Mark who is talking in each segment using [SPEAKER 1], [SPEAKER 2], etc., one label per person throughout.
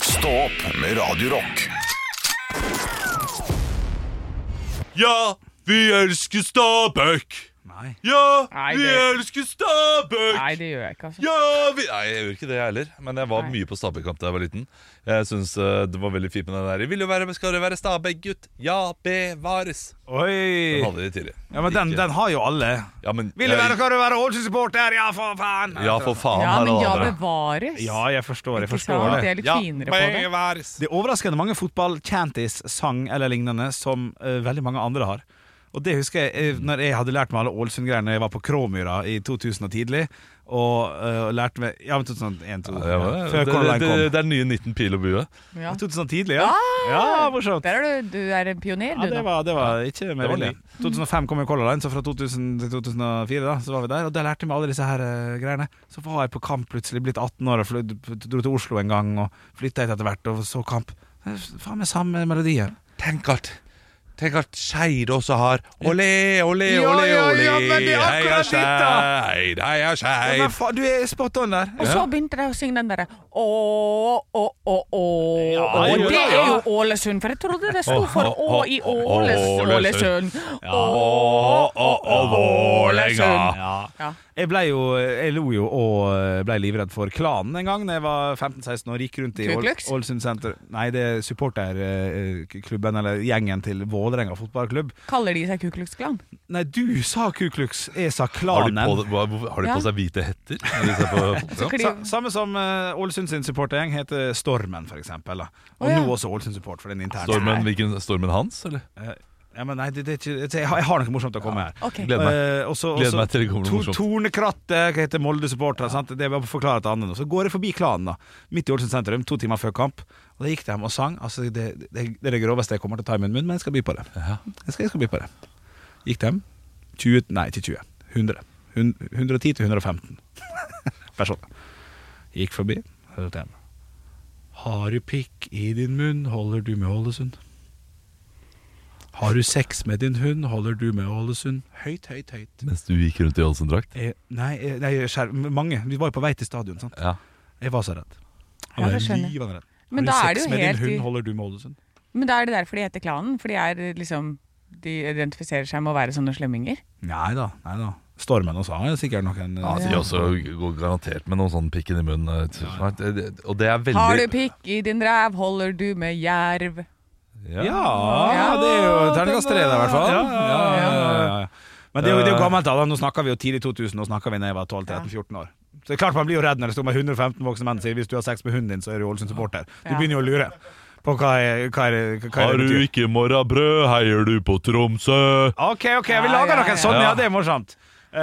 [SPEAKER 1] Stå opp med Radio Rock.
[SPEAKER 2] Ja, vi elsker Stabæk!
[SPEAKER 3] Nei.
[SPEAKER 2] Ja,
[SPEAKER 4] Nei,
[SPEAKER 2] vi
[SPEAKER 4] det-
[SPEAKER 2] elsker Stabæk!
[SPEAKER 4] Nei, det gjør jeg ikke, altså.
[SPEAKER 2] Ja, vi... Nei, jeg gjør ikke det, jeg heller. Men jeg var
[SPEAKER 4] Nei.
[SPEAKER 2] mye på Stabæk-kamp da jeg var liten. Jeg syns eh, det var veldig fint med den der 'Vil du være, skal du være Stabæk-gutt? Ja, bevares'.
[SPEAKER 3] Oi!
[SPEAKER 2] Den hadde de tidlig.
[SPEAKER 3] Ja, men den,
[SPEAKER 2] Ikke-
[SPEAKER 3] den har jo alle.
[SPEAKER 2] ja, men,
[SPEAKER 3] Vil du
[SPEAKER 2] jeg-
[SPEAKER 3] være, kan du være Ålesund-supporter? Ja, for faen!
[SPEAKER 2] Ja, for faen.
[SPEAKER 4] Ja,
[SPEAKER 2] her
[SPEAKER 4] men
[SPEAKER 2] er
[SPEAKER 4] ja,
[SPEAKER 2] det.
[SPEAKER 4] bevares.
[SPEAKER 3] Ja, jeg forstår, jeg
[SPEAKER 4] Ikke
[SPEAKER 3] forstår
[SPEAKER 4] sant?
[SPEAKER 3] det.
[SPEAKER 4] Jeg er litt finere på det.
[SPEAKER 2] bevares.
[SPEAKER 3] Det er overraskende mange fotballkjentis sang eller lignende som eh, veldig mange andre har. Og det husker jeg uh, når jeg hadde lært meg alle Ålesund-greiene jeg var på Kråmyra i 2000 og tidlig. Og eh, lærte meg Ja, men 2001, 2002.
[SPEAKER 2] Ja, men, det,
[SPEAKER 3] før
[SPEAKER 2] det,
[SPEAKER 3] Color Line
[SPEAKER 2] det,
[SPEAKER 3] kom.
[SPEAKER 2] det er nye 19 pil og bue.
[SPEAKER 4] Ja.
[SPEAKER 3] 2000 tidlig, ja. Ja, morsomt.
[SPEAKER 4] Der er du, du er en pioner,
[SPEAKER 3] Ja,
[SPEAKER 4] du
[SPEAKER 3] det
[SPEAKER 4] nå.
[SPEAKER 3] var, det var ikke med
[SPEAKER 2] Det var
[SPEAKER 3] vilje. 2005 kom jo Color Line, så fra 2000 til 2004 da, så var vi der. Og der lærte vi alle disse her eh, greiene. Så var jeg på kamp plutselig, blitt 18 år og fly- dro til Oslo en gang og flytta hit etter hvert og så kamp. Det er Faen meg samme melodien.
[SPEAKER 2] Tenk at Tenk at Skeid også har Olé, olé,
[SPEAKER 3] Ja,
[SPEAKER 2] olé,
[SPEAKER 3] ja,
[SPEAKER 2] olé
[SPEAKER 3] ja, men det er akkurat ditt, da.
[SPEAKER 2] Skeid, heia
[SPEAKER 3] Ja,
[SPEAKER 2] Skeid
[SPEAKER 3] men faen, du er spot on der.
[SPEAKER 4] Og så begynte de å synge den derre Å, å, å, å.
[SPEAKER 3] det
[SPEAKER 4] Og
[SPEAKER 3] gjorde
[SPEAKER 4] det
[SPEAKER 3] de,
[SPEAKER 4] er
[SPEAKER 3] ja.
[SPEAKER 4] jo Ålesund, for jeg trodde det sto
[SPEAKER 2] Å,
[SPEAKER 4] for
[SPEAKER 2] å,
[SPEAKER 4] Å i
[SPEAKER 2] å,
[SPEAKER 4] Åles-
[SPEAKER 2] Ålesund.
[SPEAKER 4] Ålesund. Å,
[SPEAKER 2] å, å, Vålerenga.
[SPEAKER 4] Ja.
[SPEAKER 3] Jeg ble jo, jeg lo jo og eh, ble livredd for klanen en gang Da jeg var 15-16 og gikk rundt i
[SPEAKER 4] Ku
[SPEAKER 3] Ål-
[SPEAKER 4] Klux?
[SPEAKER 3] Ålesund senter Nei, det er supporterklubben eller gjengen til Vålerenga fotballklubb
[SPEAKER 4] Kaller de seg Ku Klux Klan?
[SPEAKER 3] Nei, du sa Ku Klux, jeg sa
[SPEAKER 2] Har de
[SPEAKER 3] klanen
[SPEAKER 2] på, hva- har de på
[SPEAKER 4] Ja.
[SPEAKER 2] seg hvite hetter? når de ser på fotball?
[SPEAKER 4] Fordi-
[SPEAKER 3] Sa, samme som eh, Ålesund sin supportergjeng heter Stormen, for eksempel. Da. Og
[SPEAKER 4] Å, ja.
[SPEAKER 3] nå også Ålesund Support, for den interne.
[SPEAKER 2] Stormen, hvilken, stormen Hans, eller?
[SPEAKER 3] Eh, Ja, men nei, det, det, er ikke- jeg, har, jeg har noe morsomt å komme med her.
[SPEAKER 4] Ok.
[SPEAKER 2] Gleder meg.
[SPEAKER 3] Eh, også,
[SPEAKER 2] Gleder
[SPEAKER 3] også
[SPEAKER 2] meg til det kommer noe morsomt.
[SPEAKER 3] Tornekrattet hva heter Molde-supportere. sant? Det er bare å forklare til andre nå. Så går jeg forbi klanen, da. Midt i Ålesund sentrum, to timer før kamp. Og da gikk de hjem og sang. Altså, det, det, det er det groveste jeg kommer til å ta i min munn, men jeg skal by på det. Jeg skal, jeg skal by på det. Gikk de hjem 20 Nei, ikke 20. 100. Hun- 110 til 115 personer. Gikk forbi. Hørte til dem. Har du pikk i din munn, holder du med Ålesund. Har du sex med din hund, holder du med Ålesund. Høyt, høyt, høyt.
[SPEAKER 2] Mens du gikk rundt i Ålesund-drakt?
[SPEAKER 3] Eh, nei, eh, nei skjer, mange. Vi var jo på vei til stadion. sant?
[SPEAKER 2] Ja.
[SPEAKER 3] Jeg var så redd. Jeg
[SPEAKER 4] Ja,
[SPEAKER 3] var
[SPEAKER 4] det skjønner jeg.
[SPEAKER 3] livende redd.
[SPEAKER 4] Men
[SPEAKER 3] Har du
[SPEAKER 4] da er det
[SPEAKER 3] sex
[SPEAKER 4] jo
[SPEAKER 3] med din
[SPEAKER 4] helt
[SPEAKER 3] hund,
[SPEAKER 4] i-
[SPEAKER 3] holder du med Ålesund?
[SPEAKER 4] Men da er det derfor de heter Klanen, for de er liksom De identifiserer seg med å være sånne slemminger.
[SPEAKER 3] Nei da. nei da. Stormen også har jo sikkert noen
[SPEAKER 2] Ja,
[SPEAKER 3] eh,
[SPEAKER 2] de også går garantert med noen sånn pikken i munnen. eh, t- det- det- Og det er veldig
[SPEAKER 4] Har du pikk i din ræv, holder du med jerv.
[SPEAKER 3] Ja, det er jo terningkast tre, da, i hvert fall. Ja, ja, ja, ja, ja. Men det er jo, det er jo gammelt. da, da. Nå snakker vi jo tidlig 2000, nå snakker vi da jeg var 12-13-14 år. Så det er klart Man blir jo redd når det står med 115 voksne menn og sier hvis du har sex med hunden din, så er du Ålesund-supporter. Du
[SPEAKER 4] Ja.
[SPEAKER 3] begynner jo å lure på hva, er- hva, er- hva, hva
[SPEAKER 2] Har
[SPEAKER 3] er det
[SPEAKER 2] du
[SPEAKER 3] betyr.
[SPEAKER 2] ikke morrabrød, heier du på Tromsø?
[SPEAKER 3] Ok, ok, vi
[SPEAKER 4] Ja, ja,
[SPEAKER 3] lager noen
[SPEAKER 4] ja.
[SPEAKER 3] sånne,
[SPEAKER 2] Ja.
[SPEAKER 3] ja, det er morsomt.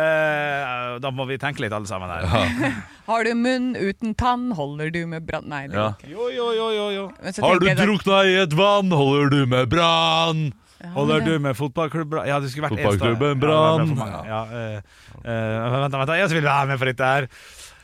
[SPEAKER 3] Eh, da må vi tenke litt alle sammen her.
[SPEAKER 4] Har du munn uten tann, holder du med brann... Nei, det
[SPEAKER 2] Ja.
[SPEAKER 4] går ikke.
[SPEAKER 3] Jo, jo, jo, jo, jo.
[SPEAKER 4] Men så
[SPEAKER 2] Har
[SPEAKER 4] tenker
[SPEAKER 2] du
[SPEAKER 4] jeg da-
[SPEAKER 2] drukna i et vann, holder du med brann?
[SPEAKER 4] Ja, men
[SPEAKER 3] Holder
[SPEAKER 4] det-
[SPEAKER 3] du med fotballklubb Brann? Ja, det skulle vært
[SPEAKER 2] Fotballklubben
[SPEAKER 3] Enstad. Ja, det ble for
[SPEAKER 2] Brann.
[SPEAKER 3] mange. Ja, eh, eh, vent, da, vent, da, jeg vil være med for dette her.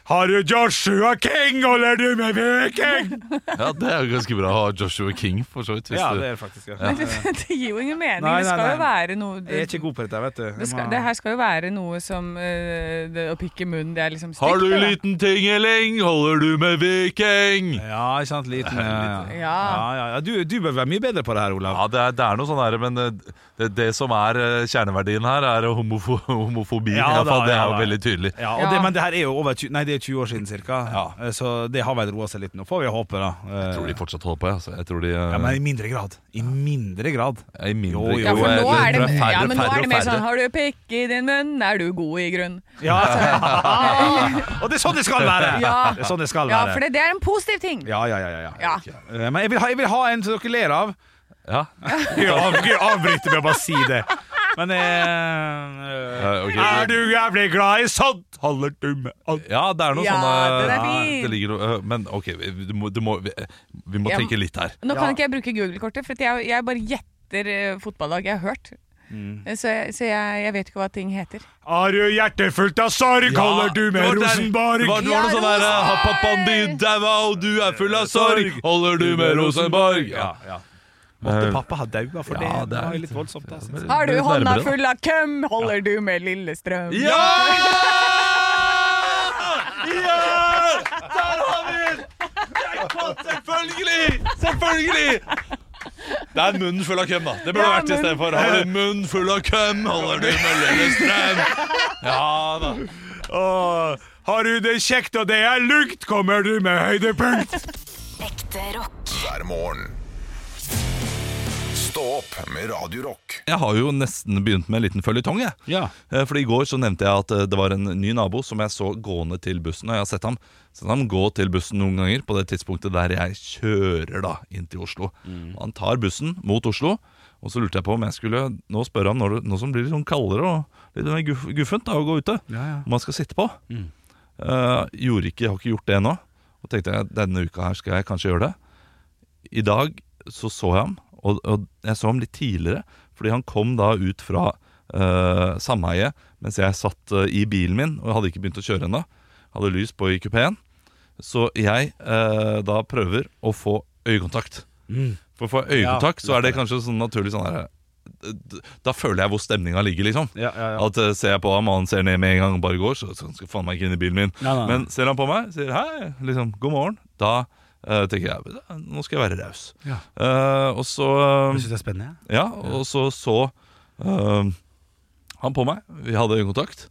[SPEAKER 3] Har du Joshua King, holder du med Viking?
[SPEAKER 2] Ja, det er jo ganske bra å ha Joshua King, for så vidt. hvis
[SPEAKER 3] Ja,
[SPEAKER 2] du-
[SPEAKER 3] det er det faktisk. Ja.
[SPEAKER 4] Men det gir jo ingen mening.
[SPEAKER 3] Nei,
[SPEAKER 4] det skal
[SPEAKER 3] nei,
[SPEAKER 4] jo
[SPEAKER 3] nei.
[SPEAKER 4] være noe
[SPEAKER 3] Jeg er ikke god på dette, vet du. Jeg
[SPEAKER 4] det, skal,
[SPEAKER 3] må-
[SPEAKER 4] det her skal jo være noe som eh, det, Å pikke munnen, det er liksom stygt.
[SPEAKER 2] Har du
[SPEAKER 4] det, da.
[SPEAKER 2] liten tingeling, holder du med viking?
[SPEAKER 3] Ja, ikke sant, liten. Ja, ja.
[SPEAKER 4] Ja.
[SPEAKER 3] ja, ja, ja. Du, du bør være mye bedre på det her, Olav.
[SPEAKER 2] Ja, det er, det er noe sånn her, men eh, det, det som er eh, kjerneverdien her, er homofo homofobi.
[SPEAKER 3] Ja,
[SPEAKER 2] I hvert fall,
[SPEAKER 3] da,
[SPEAKER 2] det er
[SPEAKER 3] ja,
[SPEAKER 2] jo
[SPEAKER 3] da.
[SPEAKER 2] veldig tydelig.
[SPEAKER 3] Ja, og
[SPEAKER 4] Ja.
[SPEAKER 3] Det, men det her er jo over 20, nei, det er 20 år siden cirka.
[SPEAKER 2] Ja.
[SPEAKER 3] Eh, Så det har vel roa seg litt nå, får vi håpe, da. Eh,
[SPEAKER 2] Jeg tror de fortsatt holder på, ja. så jeg tror de eh,
[SPEAKER 3] Ja, men i mindre grad. I mindre grad.
[SPEAKER 2] er i mindre
[SPEAKER 3] Jo, jo,
[SPEAKER 4] Ja, for
[SPEAKER 2] jeg-
[SPEAKER 4] nå er det,
[SPEAKER 2] tror jeg færre,
[SPEAKER 4] ja, men nå
[SPEAKER 2] færre
[SPEAKER 4] er det
[SPEAKER 2] og
[SPEAKER 4] mer
[SPEAKER 2] færre.
[SPEAKER 4] sånn Har du pikk i din munn, er du god i grunn.
[SPEAKER 3] Ja. og det er sånn det skal være!
[SPEAKER 4] Ja.
[SPEAKER 3] Det er sånn det skal
[SPEAKER 4] Ja,
[SPEAKER 3] være.
[SPEAKER 4] for det, det er en positiv ting.
[SPEAKER 3] Ja, ja, ja, ja, ja.
[SPEAKER 4] Ja.
[SPEAKER 3] Eh, Men jeg vil, ha, jeg vil ha en som dere ler av.
[SPEAKER 2] Ja.
[SPEAKER 3] Gud, av- Gud, avbryter med å bare si det. Men eh,
[SPEAKER 2] Eh, ok.
[SPEAKER 3] Er du jævlig glad i sånt? Holder du med alt?
[SPEAKER 2] Ja, det er noe
[SPEAKER 4] Ja,
[SPEAKER 2] sånn
[SPEAKER 4] den er
[SPEAKER 2] eh,
[SPEAKER 4] fin.
[SPEAKER 2] det ligger, noe- eh, Men ok, vi- du må, du må, vi, eh, vi må
[SPEAKER 4] Ja.
[SPEAKER 2] tenke litt her.
[SPEAKER 4] Nå kan ikke jeg bruke Google-kortet, for at jeg, jeg bare gjetter eh, fotballag jeg har hørt. Så, jeg, så jeg, jeg vet ikke hva ting heter.
[SPEAKER 3] Har du hjertet fullt av sorg? Holder du med
[SPEAKER 2] det var der-
[SPEAKER 3] Rosenborg?
[SPEAKER 2] Det var, det var noe
[SPEAKER 4] Ja,
[SPEAKER 2] sånn der eh,
[SPEAKER 4] Rosenborg!
[SPEAKER 2] «Ha, Pappaen din daua, og du er full av sorg. Holder du med Rosenborg? Ja.
[SPEAKER 3] Måtte pappa ha daua for
[SPEAKER 2] Ja,
[SPEAKER 3] det? Det
[SPEAKER 2] det er-
[SPEAKER 3] var jo litt voldsomt. da, synes jeg.
[SPEAKER 4] Har du
[SPEAKER 2] Litt
[SPEAKER 4] hånda
[SPEAKER 2] nærmere, da.
[SPEAKER 4] full av køm, holder du med Lillestrøm?
[SPEAKER 2] Ja! Ja! Der har vi den! Jeg fant Selvfølgelig! Selvfølgelig! Det er munnen full av køm, da. Det burde
[SPEAKER 4] Ja,
[SPEAKER 2] vært i stedet for. Har du munnen full av køm, holder du med Lillestrøm. Ja da.
[SPEAKER 3] Åh, har du det kjekt og det er lukt, kommer du med høydepunkt.
[SPEAKER 5] Ekte rock.
[SPEAKER 1] hver morgen. Stå opp med Radio Rock.
[SPEAKER 2] Jeg har jo nesten begynt med en liten føljetong, jeg.
[SPEAKER 3] Ja.
[SPEAKER 2] Eh, Fordi I går så nevnte jeg at eh, det var en ny nabo som jeg så gående til bussen. Og jeg har sett ham, sett ham gå til bussen noen ganger på det tidspunktet der jeg kjører da inn til Oslo. Og Han tar bussen mot Oslo, og så lurte jeg på om jeg skulle nå spørre ham når det, nå som blir litt sånn kaldere og litt mer guff, guffent da, å gå ute,
[SPEAKER 3] Ja, ja.
[SPEAKER 2] om han skal sitte på. Eh, gjorde ikke, jeg har ikke gjort det ennå. Og tenkte jeg denne uka her skal jeg kanskje gjøre det. I dag så så jeg ham, og, og jeg så ham litt tidligere, fordi han kom da ut fra uh, sameiet mens jeg satt eh, i bilen min, og jeg hadde ikke begynt å kjøre ennå. Hadde lys på i kupeen. Så jeg eh, da prøver å få øyekontakt. For for øyekontakt så er det kanskje sånn naturlig sånn her eh, Da føler jeg hvor stemninga ligger, liksom.
[SPEAKER 3] Ja, ja, ja.
[SPEAKER 2] At eh, Ser jeg på ham, og han ser ned med en gang og bare går, så, så han skal faen meg ikke inn i bilen min.
[SPEAKER 3] Nei, nei, nei.
[SPEAKER 2] Men um, ser han på meg, sier hei, liksom, god morgen, da eh, tenker jeg "Ja, nå skal jeg være raus.
[SPEAKER 3] Ja.
[SPEAKER 2] Eh, og så eh,
[SPEAKER 3] Jeg synes det er spennende. jeg.
[SPEAKER 2] Ja, og så så eh, han på meg. Vi hadde øyekontakt.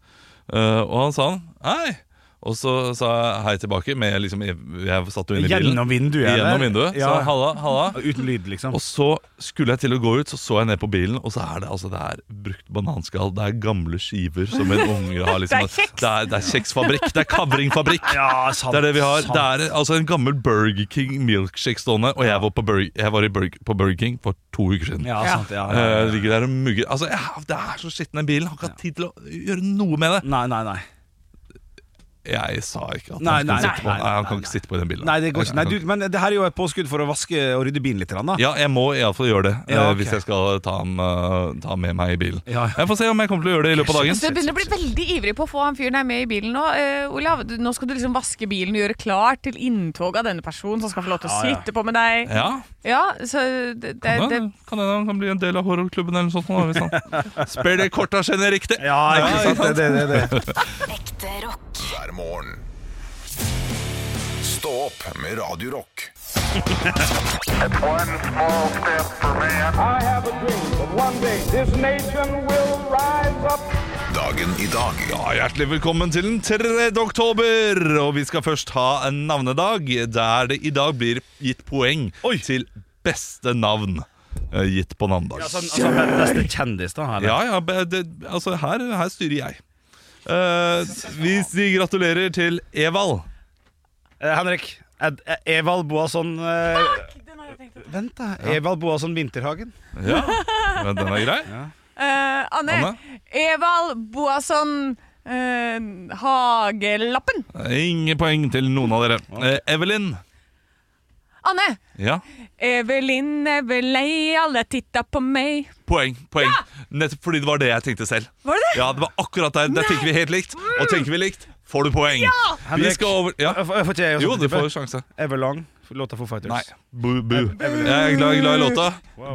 [SPEAKER 2] Eh, og han sa han hei. Og så sa jeg hei tilbake. Med, liksom, jeg, jeg satt jo inne i bilen.
[SPEAKER 3] Gjennom vinduet. eller?
[SPEAKER 2] Gjennom vinduet.
[SPEAKER 3] Ja.
[SPEAKER 2] Så halla, halla.
[SPEAKER 3] Uten lyd, liksom.
[SPEAKER 2] Og så skulle jeg til å gå ut, så så jeg ned på bilen, og så er det altså det er brukt bananskall. Det er gamle skiver som en unge har. Liksom,
[SPEAKER 4] Det er kjeks.
[SPEAKER 2] Det er, det er kjeksfabrikk. Det er kavringfabrikk.
[SPEAKER 3] Ja, sant,
[SPEAKER 2] det er det vi har.
[SPEAKER 3] sant.
[SPEAKER 2] Det er altså en gammel Burger King milkshake stående, og jeg var på Burger, jeg var i Burger, på Burger King for to uker siden.
[SPEAKER 3] Ja, sant. Ja, ja,
[SPEAKER 2] Eh,
[SPEAKER 3] ja.
[SPEAKER 2] ligger der og mugger Altså, ja, Det er så skitten den bilen. Har ikke hatt tid til å gjøre noe med det.
[SPEAKER 3] Nei, nei, nei.
[SPEAKER 2] Jeg sa ikke at
[SPEAKER 3] Nei,
[SPEAKER 2] han
[SPEAKER 3] nei,
[SPEAKER 2] skulle sitte på Nei,
[SPEAKER 3] nei,
[SPEAKER 2] han
[SPEAKER 3] nei,
[SPEAKER 2] kan ikke sitte på i den bilen.
[SPEAKER 3] Nei, det går
[SPEAKER 2] Jeg
[SPEAKER 3] ikke.
[SPEAKER 2] kan-
[SPEAKER 3] Nei, du, men det her er jo et påskudd for å vaske og rydde bilen litt. Da.
[SPEAKER 2] Ja, jeg må iallfall gjøre det
[SPEAKER 3] Ja,
[SPEAKER 2] eh,
[SPEAKER 3] ok.
[SPEAKER 2] hvis jeg skal ta ham eh, ta ham med meg i bilen.
[SPEAKER 3] Ja.
[SPEAKER 2] Jeg får se om jeg kommer til å gjøre det i løpet av
[SPEAKER 4] Så jeg
[SPEAKER 2] dagen.
[SPEAKER 4] begynner å bli veldig ivrig på å få han fyren her med i bilen nå. Eh, Olav, du, nå skal du liksom vaske bilen og gjøre klar til inntog av denne personen som skal få lov til å
[SPEAKER 3] Ja, ja.
[SPEAKER 4] sitte på med deg.
[SPEAKER 2] Ja,
[SPEAKER 4] Ja, så det, det,
[SPEAKER 2] kan
[SPEAKER 4] det
[SPEAKER 2] hende kan hende han kan bli en del av horrorklubben eller noe sånt. nå, Hvis han spør det korta skjønner riktig.
[SPEAKER 3] Ja, ikke sant. Det, det, det, det.
[SPEAKER 5] Ekte rock.
[SPEAKER 1] hver morgen. Stå opp med Radio Rock.
[SPEAKER 6] One small step for man. I have a dream that one day this nation will rise up.
[SPEAKER 1] Dagen i dag.
[SPEAKER 2] Ja, Hjertelig velkommen til den 3. oktober. Og vi skal først ha en navnedag der det i dag blir gitt poeng til beste navn eh, gitt på navnedag.
[SPEAKER 3] Ja, sånn, altså, be- beste kjendis, da. Eller?
[SPEAKER 2] Ja, ja, be- det, altså her, her styrer jeg. Eh, vi sier gratulerer til Evald.
[SPEAKER 3] Eh, Henrik. Ed, eh, Evald Boasson eh, Vent, da. Evald Boasson Winterhagen.
[SPEAKER 2] Ja, men den er grei.
[SPEAKER 4] Eh, Anne.
[SPEAKER 2] Anne?
[SPEAKER 4] Evald Boasson eh, Hagelappen.
[SPEAKER 2] Ingen poeng til noen av dere. Eh, Evelyn.
[SPEAKER 4] Anne.
[SPEAKER 2] Ja,
[SPEAKER 4] Evelyn Evelei, alle titta på meg.
[SPEAKER 2] poeng. poeng Nettopp fordi det var det jeg tenkte selv.
[SPEAKER 4] Var det det?
[SPEAKER 2] Ja, det var akkurat der. Der tenker vi helt likt. Og tenker vi likt, får du poeng. Vi
[SPEAKER 3] Henrik.
[SPEAKER 2] skal over ja.
[SPEAKER 3] Jeg får- jeg får ikke jeg også
[SPEAKER 2] Jo, du
[SPEAKER 3] type?
[SPEAKER 2] får sjanse.
[SPEAKER 3] Everlong, låta Foo Fighters.
[SPEAKER 2] Nei. Bu, bu. Jeg er glad, glad i låta.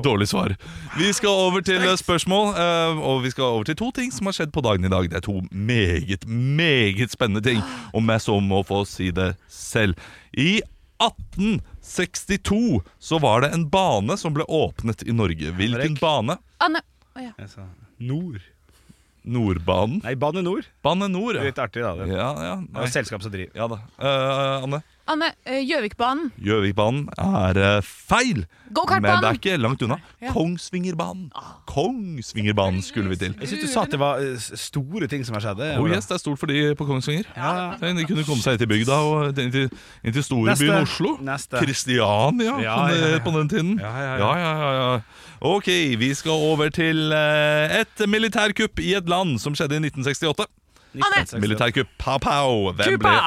[SPEAKER 2] Dårlig svar. Vi skal over til eh, spørsmål, eh, og vi skal over til to ting som har skjedd på dagen i dag. Det er to meget, meget spennende ting, om jeg så må få si det selv. I 1862 så var det en bane som ble åpnet i Norge. Hvilken
[SPEAKER 3] Henrik.
[SPEAKER 2] bane?
[SPEAKER 4] Anne. Å, ja.
[SPEAKER 3] Jeg sa Altså, Nord.
[SPEAKER 2] Nordbanen?
[SPEAKER 3] Nei, Bane Nor.
[SPEAKER 2] Bane Nor,
[SPEAKER 3] Det er
[SPEAKER 2] ja.
[SPEAKER 3] Litt artig, da. Det
[SPEAKER 2] Ja, ja,
[SPEAKER 3] Det er
[SPEAKER 2] nei.
[SPEAKER 3] et selskap som driver
[SPEAKER 2] ja da. Eh, Anne?
[SPEAKER 4] Anne, eh, Gjøvikbanen.
[SPEAKER 2] Gjøvikbanen er eh, feil, men det er
[SPEAKER 4] Gokartbanen!
[SPEAKER 2] ikke langt unna.
[SPEAKER 4] Ja. Ah.
[SPEAKER 2] Kongsvingerbanen. Kongsvingerbanen skulle vi til.
[SPEAKER 3] Jeg syns du sa at det var eh, store ting som har skjedd. eh,
[SPEAKER 2] Oh yes, det er stort for de på Kongsvinger.
[SPEAKER 3] Ja,
[SPEAKER 2] De kunne komme seg inn til bygda og inn til, inn til storbyen
[SPEAKER 3] Neste.
[SPEAKER 2] Oslo.
[SPEAKER 3] Neste.
[SPEAKER 2] Kristiania
[SPEAKER 3] Ja,
[SPEAKER 2] som det
[SPEAKER 3] ja, ja.
[SPEAKER 2] het på den tiden.
[SPEAKER 3] Ja, ja, ja.
[SPEAKER 2] ja, ja. Ok, vi skal over til eh, et militærkupp i et land som skjedde i 1968. Militærkupp pow-pow. Hvem
[SPEAKER 4] Cuba!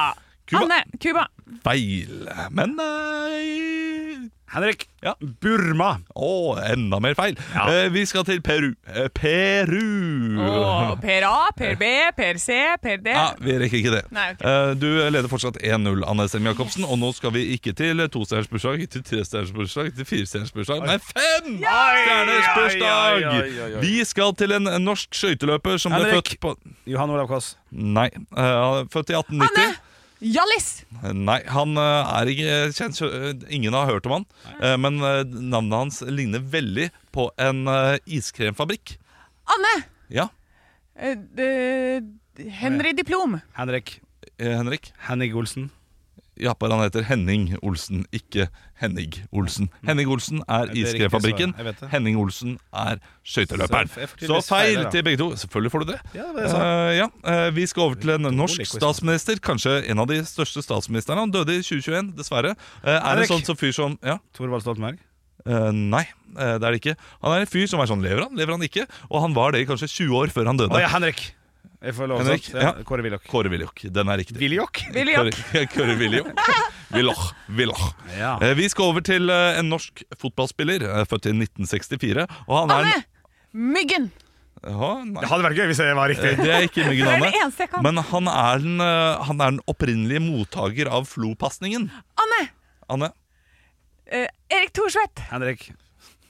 [SPEAKER 2] Cuba.
[SPEAKER 4] Anne, Cuba.
[SPEAKER 2] ble feil? Men eh,
[SPEAKER 3] Henrik.
[SPEAKER 2] Ja.
[SPEAKER 3] Burma.
[SPEAKER 2] Å, enda mer feil. Eh, vi skal til Peru. Eh, Peru!
[SPEAKER 4] Åh, per A, Per B, Per C, Per D.
[SPEAKER 2] Ja, vi rekker ikke det.
[SPEAKER 4] Nei, ok.
[SPEAKER 2] Eh, Du leder fortsatt 1-0, Anne Sem Jacobsen. Og nå skal vi ikke til tostjerners bursdag, til trestjerners bursdag, til firestjerners bursdag, nei, fem stjerners
[SPEAKER 3] Oi, oi, oi, oi,
[SPEAKER 2] bursdag!
[SPEAKER 3] oi.
[SPEAKER 2] Vi skal til en norsk skøyteløper som ble født
[SPEAKER 3] Henrik.
[SPEAKER 2] på
[SPEAKER 3] Johan Olav Koss.
[SPEAKER 2] Nei. eh, han er født i 1890.
[SPEAKER 4] Anne! Hjallis!
[SPEAKER 2] Nei, han eh, er ikke eh, kjent eh, Ingen har hørt om han eh, Men eh, navnet hans ligner veldig på en eh, iskremfabrikk
[SPEAKER 4] Anne!
[SPEAKER 2] Ja,
[SPEAKER 4] Eh, d- Henry Diplom.
[SPEAKER 3] Henrik.
[SPEAKER 2] eh, Henrik
[SPEAKER 3] Henning Olsen.
[SPEAKER 2] Ja, bare han heter Henning Olsen, ikke Henning Olsen Henning Olsen er
[SPEAKER 3] Mm. Det er riktig
[SPEAKER 2] iskremfabrikken
[SPEAKER 3] svar, jeg vet det.
[SPEAKER 2] Henning Olsen er skøyteløperen
[SPEAKER 3] Så jeg får
[SPEAKER 2] Så
[SPEAKER 3] tydeligvis feil,
[SPEAKER 2] feil
[SPEAKER 3] da.
[SPEAKER 2] til begge to, selvfølgelig får du det
[SPEAKER 3] Ja, det var det jeg sa.
[SPEAKER 2] Eh, ja. eh, Vi skal over til en norsk
[SPEAKER 3] Utrolig quiz, altså.
[SPEAKER 2] statsminister Kanskje en av de største statsministerne Han døde i 2021, dessverre Eh, Er det
[SPEAKER 3] Henrik.
[SPEAKER 2] sånn som fyr som... Ja?
[SPEAKER 3] Thorvald Stoltenberg.
[SPEAKER 2] Eh, nei, eh, det er det ikke. Han er en fyr som er sånn Lever han, lever han ikke? Og han var det i kanskje 20 år før han døde.
[SPEAKER 3] Å ja, Henrik. Jeg får lov,
[SPEAKER 2] Henrik,
[SPEAKER 3] sant? Ja.
[SPEAKER 2] ja.
[SPEAKER 3] Kåre Willoch.
[SPEAKER 2] Kåre Willoch. Den er riktig.
[SPEAKER 3] Willoch?
[SPEAKER 4] William.
[SPEAKER 2] Kåre, Kåre Willoch. Willoch. Willoch.
[SPEAKER 3] Ja.
[SPEAKER 2] Eh, vi skal over til eh, en norsk fotballspiller, eh, født i 1964. Og han er
[SPEAKER 4] Anne! Myggen.
[SPEAKER 2] Å, nei.
[SPEAKER 3] Det hadde vært gøy hvis det var riktig.
[SPEAKER 2] Eh, Det er ikke myggen
[SPEAKER 4] Det er
[SPEAKER 2] Anne.
[SPEAKER 4] det eneste jeg kan.
[SPEAKER 2] Men han er den, eh, han er den opprinnelige mottaker av Flo-pasningen.
[SPEAKER 4] Anne!
[SPEAKER 2] Anne?
[SPEAKER 4] Eh, Erik Thorsvedt.
[SPEAKER 3] Henrik.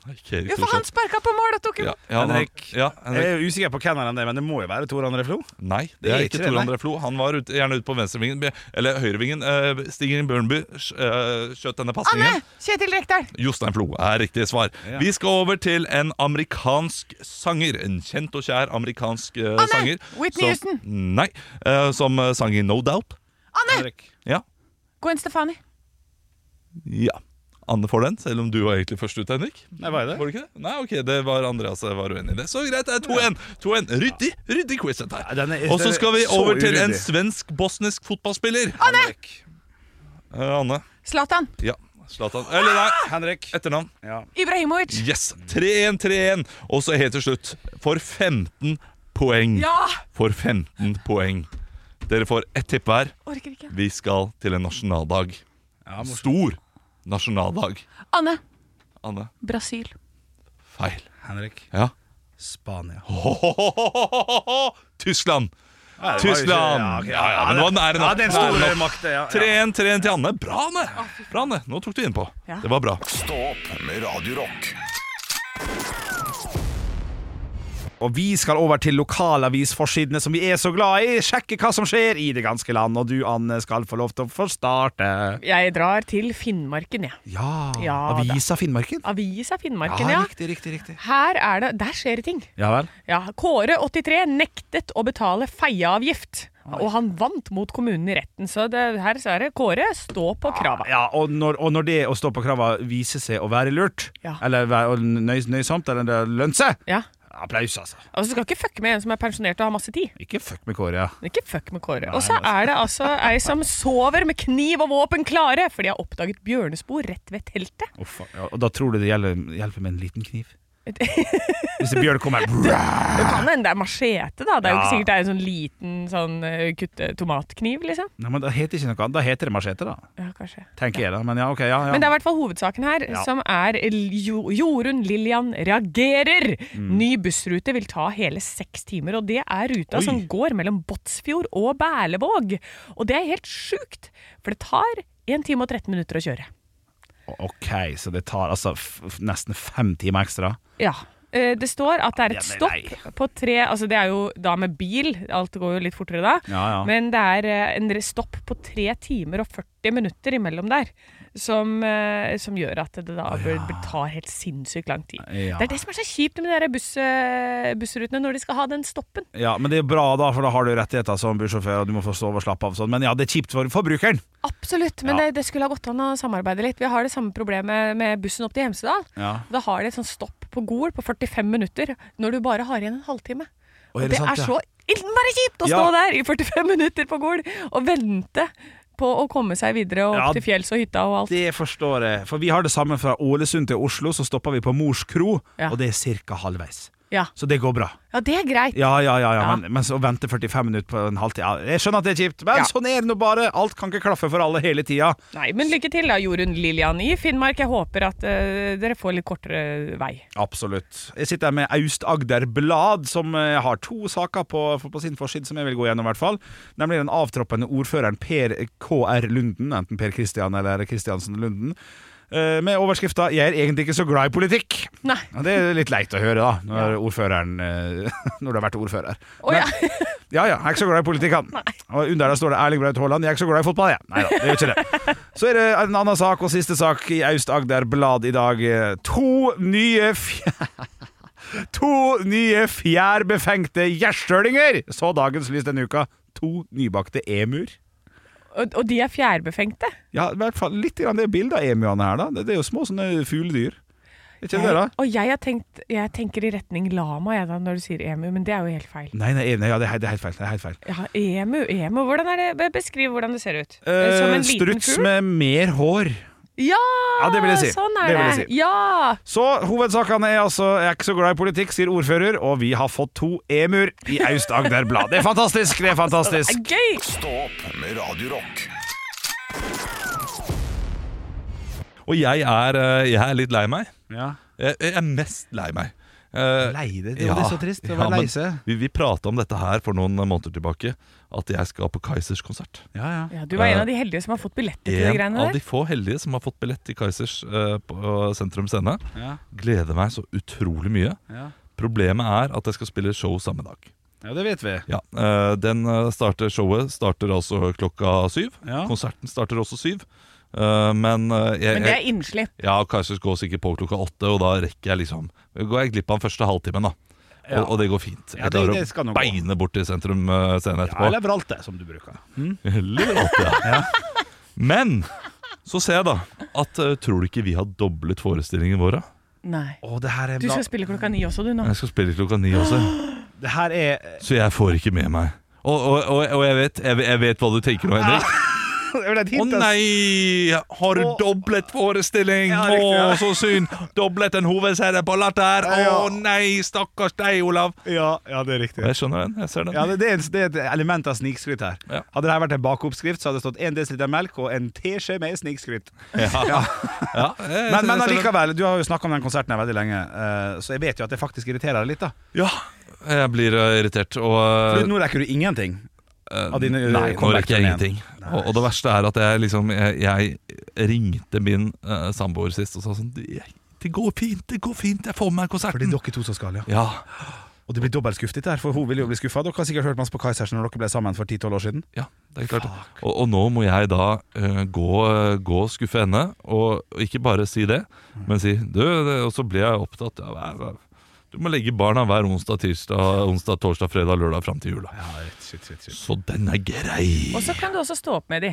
[SPEAKER 2] Nei, ikke
[SPEAKER 4] Jo,
[SPEAKER 2] Erik
[SPEAKER 4] for han
[SPEAKER 2] Thorseth.
[SPEAKER 4] sparka på mål og tok en
[SPEAKER 2] ja, ja, han-
[SPEAKER 3] Henrik.
[SPEAKER 2] Ja, Henrik.
[SPEAKER 3] Jeg er usikker på hvem av dem det er, men det må jo være Tor André Flo.
[SPEAKER 2] Nei, det er ikke
[SPEAKER 3] det,
[SPEAKER 2] Tor
[SPEAKER 3] nei.
[SPEAKER 2] André Flo. Han var ut, gjerne ute på venstrevingen, be- eller høyrevingen. Uh, Stigen Bjørnby uh, skjøt denne
[SPEAKER 4] Anne!
[SPEAKER 2] pasningen.
[SPEAKER 4] Kjetil Rekdal.
[SPEAKER 2] Jostein Flo er riktig svar.
[SPEAKER 3] Ja.
[SPEAKER 2] Vi skal over til en amerikansk sanger. En kjent og kjær amerikansk eh,
[SPEAKER 4] Anne!
[SPEAKER 2] sanger.
[SPEAKER 4] Whitney
[SPEAKER 2] som,
[SPEAKER 4] Houston.
[SPEAKER 2] Nei. eh, som eh, sang i No Doubt.
[SPEAKER 4] Anne!
[SPEAKER 3] Henrik.
[SPEAKER 2] Ja.
[SPEAKER 4] Gwen Stefani.
[SPEAKER 2] ja. Anne får den, selv om du var egentlig først ut, Henrik.
[SPEAKER 3] Nei, var jeg det?
[SPEAKER 2] Var du ikke det? Nei, ok, det var Andreas som var uenig i det. Så greit, det er 2-1. 2-1. Ryddig ryddig quiz, dette
[SPEAKER 3] Ja, den
[SPEAKER 2] her.
[SPEAKER 3] er-
[SPEAKER 2] Og så skal vi
[SPEAKER 3] så
[SPEAKER 2] over til en
[SPEAKER 3] uryddig.
[SPEAKER 2] svensk-bosnisk fotballspiller.
[SPEAKER 3] Henrik.
[SPEAKER 2] Eh, Anne.
[SPEAKER 4] Zlatan.
[SPEAKER 2] Ja, Zlatan. Eller nei,
[SPEAKER 3] Henrik.
[SPEAKER 2] etternavn.
[SPEAKER 3] Ja.
[SPEAKER 4] Ibrahimovic.
[SPEAKER 2] Yes. 3-1-3-1. Og så helt til slutt, for 15 poeng.
[SPEAKER 4] Ja!
[SPEAKER 2] For 15 poeng. Dere får ett tipp hver.
[SPEAKER 4] Orker ikke.
[SPEAKER 2] Vi skal til en nasjonaldag.
[SPEAKER 3] Ja, morsomt.
[SPEAKER 2] Stor nasjonaldag.
[SPEAKER 4] Anne.
[SPEAKER 2] Anne,
[SPEAKER 4] Brasil.
[SPEAKER 2] feil.
[SPEAKER 3] Henrik.
[SPEAKER 2] Ja.
[SPEAKER 3] Spania.
[SPEAKER 2] Tyskland!
[SPEAKER 3] Ja, det var jo ikke-
[SPEAKER 2] Tyskland!
[SPEAKER 3] Ja, ok,
[SPEAKER 2] Ja, ja, men nå er den æren
[SPEAKER 3] Ja,
[SPEAKER 2] opp.
[SPEAKER 3] det er en
[SPEAKER 2] Nå er den
[SPEAKER 3] stor
[SPEAKER 2] opp.
[SPEAKER 3] makt, det, ja.
[SPEAKER 2] 3-1, 3-1 til Anne. Bra, Anne! Bra, Anne. Nå tok du innpå.
[SPEAKER 4] Ja.
[SPEAKER 2] Det var bra.
[SPEAKER 1] Stå opp med Radio Rock.
[SPEAKER 3] Og vi skal over til lokalavisforsidene som vi er så glad i. Sjekke hva som skjer i det ganske land. Og du, Anne, skal få lov til å få starte.
[SPEAKER 4] Jeg drar til Finnmarken, jeg.
[SPEAKER 3] Ja,
[SPEAKER 4] Ja, da.
[SPEAKER 3] Avisa Finnmarken.
[SPEAKER 4] Avisa Finnmarken, ja.
[SPEAKER 3] Riktig, riktig, riktig.
[SPEAKER 4] Her er det Der skjer det ting.
[SPEAKER 3] Ja vel.
[SPEAKER 4] Ja, Kåre 83 nektet å betale feieavgift. Og han vant mot kommunen i retten, så det, her ser det Kåre stå på krava.
[SPEAKER 3] Ja, og når, og når det å stå på krava viser seg å være lurt,
[SPEAKER 4] Ja.
[SPEAKER 3] eller være- og nøy, nøysomt, eller det lønner seg
[SPEAKER 4] Ja.
[SPEAKER 3] Applaus, altså.
[SPEAKER 4] Altså, du skal ikke fucke med en som er pensjonert og har masse tid.
[SPEAKER 3] Ikke fuck med Kåre. ja.
[SPEAKER 4] Ikke fuck med Kåre. Og så er det altså ei som sover med kniv og våpen klare, for de har oppdaget bjørnespor rett ved teltet.
[SPEAKER 3] Uff, ja. Og da tror du det gjelder, hjelper med en liten kniv? Hvis en bjørn kommer brrr.
[SPEAKER 4] Det kan hende det er machete, da. Det er jo ikke
[SPEAKER 3] Ja.
[SPEAKER 4] sikkert det er en sånn liten sånn eh, kutte tomatkniv, liksom.
[SPEAKER 3] Nei, men Da heter det ikke noe annet. Da heter det machete, da.
[SPEAKER 4] Ja, kanskje.
[SPEAKER 3] Tenker jeg, da. Men ja, ok, ja, ja.
[SPEAKER 4] Men det er i hvert fall hovedsaken her,
[SPEAKER 3] Ja.
[SPEAKER 4] som er L- Jo- Jorunn Lillian reagerer!
[SPEAKER 3] Mm.
[SPEAKER 4] Ny bussrute vil ta hele seks timer, og det er ruta
[SPEAKER 3] Oi.
[SPEAKER 4] som går mellom Båtsfjord og Berlevåg. Og det er helt sjukt, for det tar 1 time og 13 minutter å kjøre.
[SPEAKER 3] Ok, så det tar altså f f nesten fem timer ekstra?
[SPEAKER 4] Ja. Eh, Det står at det er et
[SPEAKER 3] Ja, men nei.
[SPEAKER 4] stopp på tre Altså det er jo da med bil, alt går jo litt fortere da.
[SPEAKER 3] Ja, ja.
[SPEAKER 4] Men det er eh, en re- stopp på tre timer og 40 40 minutter imellom der, som, eh, som gjør at det da bør- bør ta helt sinnssykt lang tid.
[SPEAKER 3] Ja.
[SPEAKER 4] Det er det som er så kjipt med de der buss, eh, bussrutene når de skal ha den stoppen.
[SPEAKER 3] Ja, men det er bra da, for da har du rettigheter som bussjåfør, og du må få sove og slappe av og sånn. Men ja, det er kjipt for forbrukeren.
[SPEAKER 4] Absolutt, men
[SPEAKER 3] Ja.
[SPEAKER 4] det, det skulle ha gått an å samarbeide litt. Vi har det samme problemet med bussen opp til Hemsedal.
[SPEAKER 3] Ja.
[SPEAKER 4] Da har de et sånt stopp på Gol på 45 minutter når du bare har igjen en halvtime.
[SPEAKER 3] Og
[SPEAKER 4] Og det,
[SPEAKER 3] er det sant,
[SPEAKER 4] er
[SPEAKER 3] ja?
[SPEAKER 4] så innmari kjipt å
[SPEAKER 3] Ja.
[SPEAKER 4] stå der i 45 minutter på Gol og vente på å komme seg videre og opp
[SPEAKER 3] Ja,
[SPEAKER 4] til fjells og hytta og alt.
[SPEAKER 3] Det forstår jeg. For vi har det samme fra Ålesund til Oslo, så stopper vi på Mors kro,
[SPEAKER 4] Ja.
[SPEAKER 3] og det er ca. halvveis.
[SPEAKER 4] Ja.
[SPEAKER 3] Så det går bra.
[SPEAKER 4] ja, det er greit.
[SPEAKER 3] Ja, ja, ja, ja.
[SPEAKER 4] Ja.
[SPEAKER 3] Men, men så å vente 45 minutter på en halvtime ja, Jeg skjønner at det er kjipt, men
[SPEAKER 4] Ja.
[SPEAKER 3] sånn er det nå bare. Alt kan ikke klaffe for alle hele tida.
[SPEAKER 4] Nei, men lykke til da, Jorunn Lillian i Finnmark. Jeg håper at eh, dere får litt kortere vei.
[SPEAKER 3] Absolutt. Jeg sitter her med Aust-Agder Blad, som eh, har to saker på, på sin forside som jeg vil gå gjennom, i hvert fall. Nemlig den avtroppende ordføreren Per KR Lunden, enten Per Kristian eller Kristiansen Lunden, eh, med overskrifta 'Jeg er egentlig ikke så glad i politikk'.
[SPEAKER 4] Nei.
[SPEAKER 3] Og det er litt leit å høre, da, når ordføreren eh, Når du har vært ordfører.
[SPEAKER 4] Å, ja.
[SPEAKER 3] Ja ja, jeg er ikke så glad i politikk, han. Og under der står det Erling Braut Haaland. Jeg er ikke så glad i fotball, jeg. Nei da, det gjør ikke det. Så er det en annen sak, og siste sak i Aust-Agder Blad i dag. To nye fj... To nye fjærbefengte gjerstølinger så dagens lys denne uka. To nybakte emuer.
[SPEAKER 4] Og, og de er fjærbefengte.
[SPEAKER 3] Ja, i hvert fall litt grann det bildet av emuene her, da. Det, det er jo små sånne fugledyr. Er Ikke det, da?
[SPEAKER 4] Jeg- Eh, Og jeg, har tenkt, jeg tenker i retning lama jeg, da, når du sier emu, men det er jo helt feil.
[SPEAKER 3] Nei, nei, nei ja, det, er, helt- det er helt feil. Det er helt feil.
[SPEAKER 4] Ja, emu, emu, hvordan er det? Be- Beskriv hvordan det ser ut.
[SPEAKER 3] Eh,
[SPEAKER 4] Som en liten
[SPEAKER 3] struts
[SPEAKER 4] fugl?
[SPEAKER 3] med mer hår.
[SPEAKER 4] Ja,
[SPEAKER 3] Ja, det vil jeg si.
[SPEAKER 4] sånn er
[SPEAKER 3] Det
[SPEAKER 4] det.
[SPEAKER 3] vil jeg si.
[SPEAKER 4] Ja,
[SPEAKER 3] Så hovedsakene er altså Jeg er ikke så glad i politikk, sier ordfører, og vi har fått to emuer i Aust-Agder Blad. Det er fantastisk! Det er
[SPEAKER 4] det er
[SPEAKER 3] fantastisk.
[SPEAKER 4] gøy!
[SPEAKER 1] Stå opp med Radio Rock.
[SPEAKER 2] Og jeg er, eh, jeg er litt lei meg.
[SPEAKER 3] Ja.
[SPEAKER 2] Jeg, jeg er mest lei meg. Eh,
[SPEAKER 3] Lei deg? Det- det er så trist å være
[SPEAKER 2] men
[SPEAKER 3] lei seg.
[SPEAKER 2] Vi, vi prata om dette her for noen måneder tilbake, at jeg skal på Kaizers konsert.
[SPEAKER 3] Ja, ja.
[SPEAKER 4] Ja, du var
[SPEAKER 3] Eh,
[SPEAKER 4] en av de heldige som har fått billetter til de
[SPEAKER 2] En
[SPEAKER 4] greiene
[SPEAKER 2] av de
[SPEAKER 4] der.
[SPEAKER 2] få heldige som har fått billett til Kaizers eh, på Sentrum Scene.
[SPEAKER 3] Ja.
[SPEAKER 2] Gleder meg så utrolig mye.
[SPEAKER 3] Ja.
[SPEAKER 2] Problemet er at jeg skal spille show samme dag.
[SPEAKER 3] ja, det vet vi.
[SPEAKER 2] Ja, eh, den eh, starter Showet starter altså klokka syv.
[SPEAKER 3] Ja.
[SPEAKER 2] Konserten starter også syv. Eh, men eh, jeg,
[SPEAKER 4] Men det er innslipp.
[SPEAKER 2] Ja, og Kaizers går sikkert på klokka åtte, og da rekker jeg liksom Går jeg glipp av den første halvtimen, da. Og,
[SPEAKER 3] Ja.
[SPEAKER 2] og det går fint.
[SPEAKER 3] Ja,
[SPEAKER 2] Jeg
[SPEAKER 3] det-
[SPEAKER 2] klarer
[SPEAKER 3] det skal
[SPEAKER 2] å
[SPEAKER 3] nå gå.
[SPEAKER 2] beine bort til sentrum uh, scenen
[SPEAKER 3] Ja,
[SPEAKER 2] etterpå.
[SPEAKER 3] eller vralte, som du bruker.
[SPEAKER 2] Eller åtte, ja. Men så ser jeg da at eh, Tror du ikke vi har doblet forestillingen våre?
[SPEAKER 4] Nei.
[SPEAKER 3] Å, det her er
[SPEAKER 4] Du
[SPEAKER 3] bra.
[SPEAKER 4] skal spille klokka ni også, du nå.
[SPEAKER 2] Jeg skal spille klokka ni også,
[SPEAKER 3] Det her er
[SPEAKER 2] så jeg får ikke med meg. Og, og, og, og jeg, vet, jeg, jeg vet hva du tenker nå, Henrik.
[SPEAKER 3] Det er vel et
[SPEAKER 2] Å
[SPEAKER 3] hint, ass.
[SPEAKER 2] nei! Har du
[SPEAKER 3] Å.
[SPEAKER 2] doblet forestilling?
[SPEAKER 3] Ja,
[SPEAKER 2] Å,
[SPEAKER 3] riktig, ja.
[SPEAKER 2] så synd! Doblet en hovedscene på Latter! Å
[SPEAKER 3] Ja.
[SPEAKER 2] nei, stakkars deg, Olav!
[SPEAKER 3] Ja, ja, det er riktig.
[SPEAKER 2] Jeg skjønner den. jeg ser den
[SPEAKER 3] Ja, det, det, er, det er et element av snikskryt her.
[SPEAKER 2] Ja.
[SPEAKER 3] Hadde det her vært en bakeoppskrift, så hadde det stått 1 dl melk og en teskje med snikskryt.
[SPEAKER 2] Ja. Ja, jeg- jeg
[SPEAKER 3] Men,
[SPEAKER 2] ser-
[SPEAKER 3] men
[SPEAKER 2] jeg ser den.
[SPEAKER 3] allikevel, du har jo snakka om den konserten her veldig lenge, eh, så jeg vet jo at det faktisk irriterer deg litt, da.
[SPEAKER 2] Ja, jeg blir eh, irritert. Og
[SPEAKER 3] For nå rekker du ingenting.
[SPEAKER 2] Eh,
[SPEAKER 3] av dine, eh,
[SPEAKER 2] Nei, nå rekker jeg
[SPEAKER 3] comeback-turnéen.
[SPEAKER 2] ingenting. Og, og det verste er at jeg liksom Jeg, jeg ringte min eh, samboer sist og sa sånn det, det går fint, det går fint, jeg får med meg
[SPEAKER 3] For det
[SPEAKER 2] konserten.
[SPEAKER 3] er dere to som skal, ja.
[SPEAKER 2] Ja,
[SPEAKER 3] Og det blir dobbelt skuffet der, for hun vil jo bli skuffa. Dere har sikkert hørt masse på Kaisersen når dere ble sammen for 10-12 år siden.
[SPEAKER 2] ja, det er klart. Og, og nå må jeg da eh, gå, gå og skuffe henne, og, og ikke bare si det, men si du, det, Og så blir jeg opptatt. Ja, hva- hva- du må legge barna hver onsdag, tirsdag, onsdag, torsdag, fredag, lørdag fram til jula.
[SPEAKER 3] Ja, shit, shit, shit.
[SPEAKER 2] Så den er
[SPEAKER 3] Eh.
[SPEAKER 2] grei.
[SPEAKER 4] Og så kan du også stå opp med de.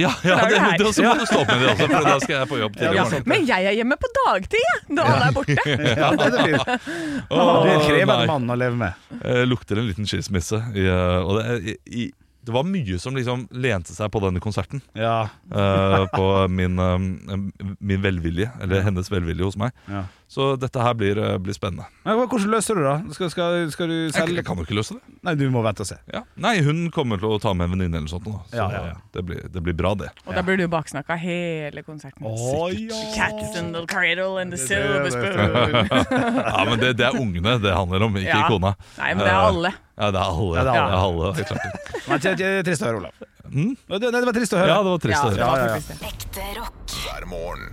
[SPEAKER 2] Ja, ja
[SPEAKER 4] da er du
[SPEAKER 2] det,
[SPEAKER 4] her.
[SPEAKER 2] det, så må du stå opp med det også, for da skal jeg på jobb tidlig i
[SPEAKER 4] Ja, sånn.
[SPEAKER 2] morgen.
[SPEAKER 4] men jeg er hjemme på dagtid, jeg! Når alle er borte.
[SPEAKER 3] Ja, det er fint. Du er en krevende mann å leve med.
[SPEAKER 2] Eh, lukter en liten skilsmisse. I, eh, og det, er- i, i, det var mye som liksom lente seg på denne konserten.
[SPEAKER 3] Ja.
[SPEAKER 2] eh, på min, eh, min velvilje, eller hennes velvilje hos meg.
[SPEAKER 3] Ja.
[SPEAKER 2] Så dette her blir, eh, blir spennende.
[SPEAKER 3] Men hva- hvordan løser du det? da? Skal, skal, skal du
[SPEAKER 2] Jeg,
[SPEAKER 3] selge
[SPEAKER 2] jeg kan jo ikke løse det.
[SPEAKER 3] Nei, du må vente og se.
[SPEAKER 2] Ja. Nei, hun kommer til å ta med en venninne eller sånt. nå, Så
[SPEAKER 3] Ja, ja, ja.
[SPEAKER 2] Det, blir, det blir bra, det.
[SPEAKER 4] Og da blir du baksnakka hele konserten. Cats in the cradle and the silver spoon.
[SPEAKER 2] Ja, men det, det er ungene det handler om, ikke
[SPEAKER 4] Ja.
[SPEAKER 2] kona.
[SPEAKER 4] Nei, men det er alle.
[SPEAKER 2] Ja, det er alle.
[SPEAKER 3] Ja, det er alle.
[SPEAKER 2] det er klart.
[SPEAKER 3] Nei, det er trist å høre, Olav.
[SPEAKER 2] Mm?
[SPEAKER 3] Nei, det det var trist å høre.
[SPEAKER 2] ja, det var trist
[SPEAKER 4] Ja,
[SPEAKER 2] å
[SPEAKER 4] det
[SPEAKER 2] høre.
[SPEAKER 4] var
[SPEAKER 3] Ja, ja, ja.
[SPEAKER 4] faktisk det.
[SPEAKER 5] ekte rock,
[SPEAKER 1] hver morgen.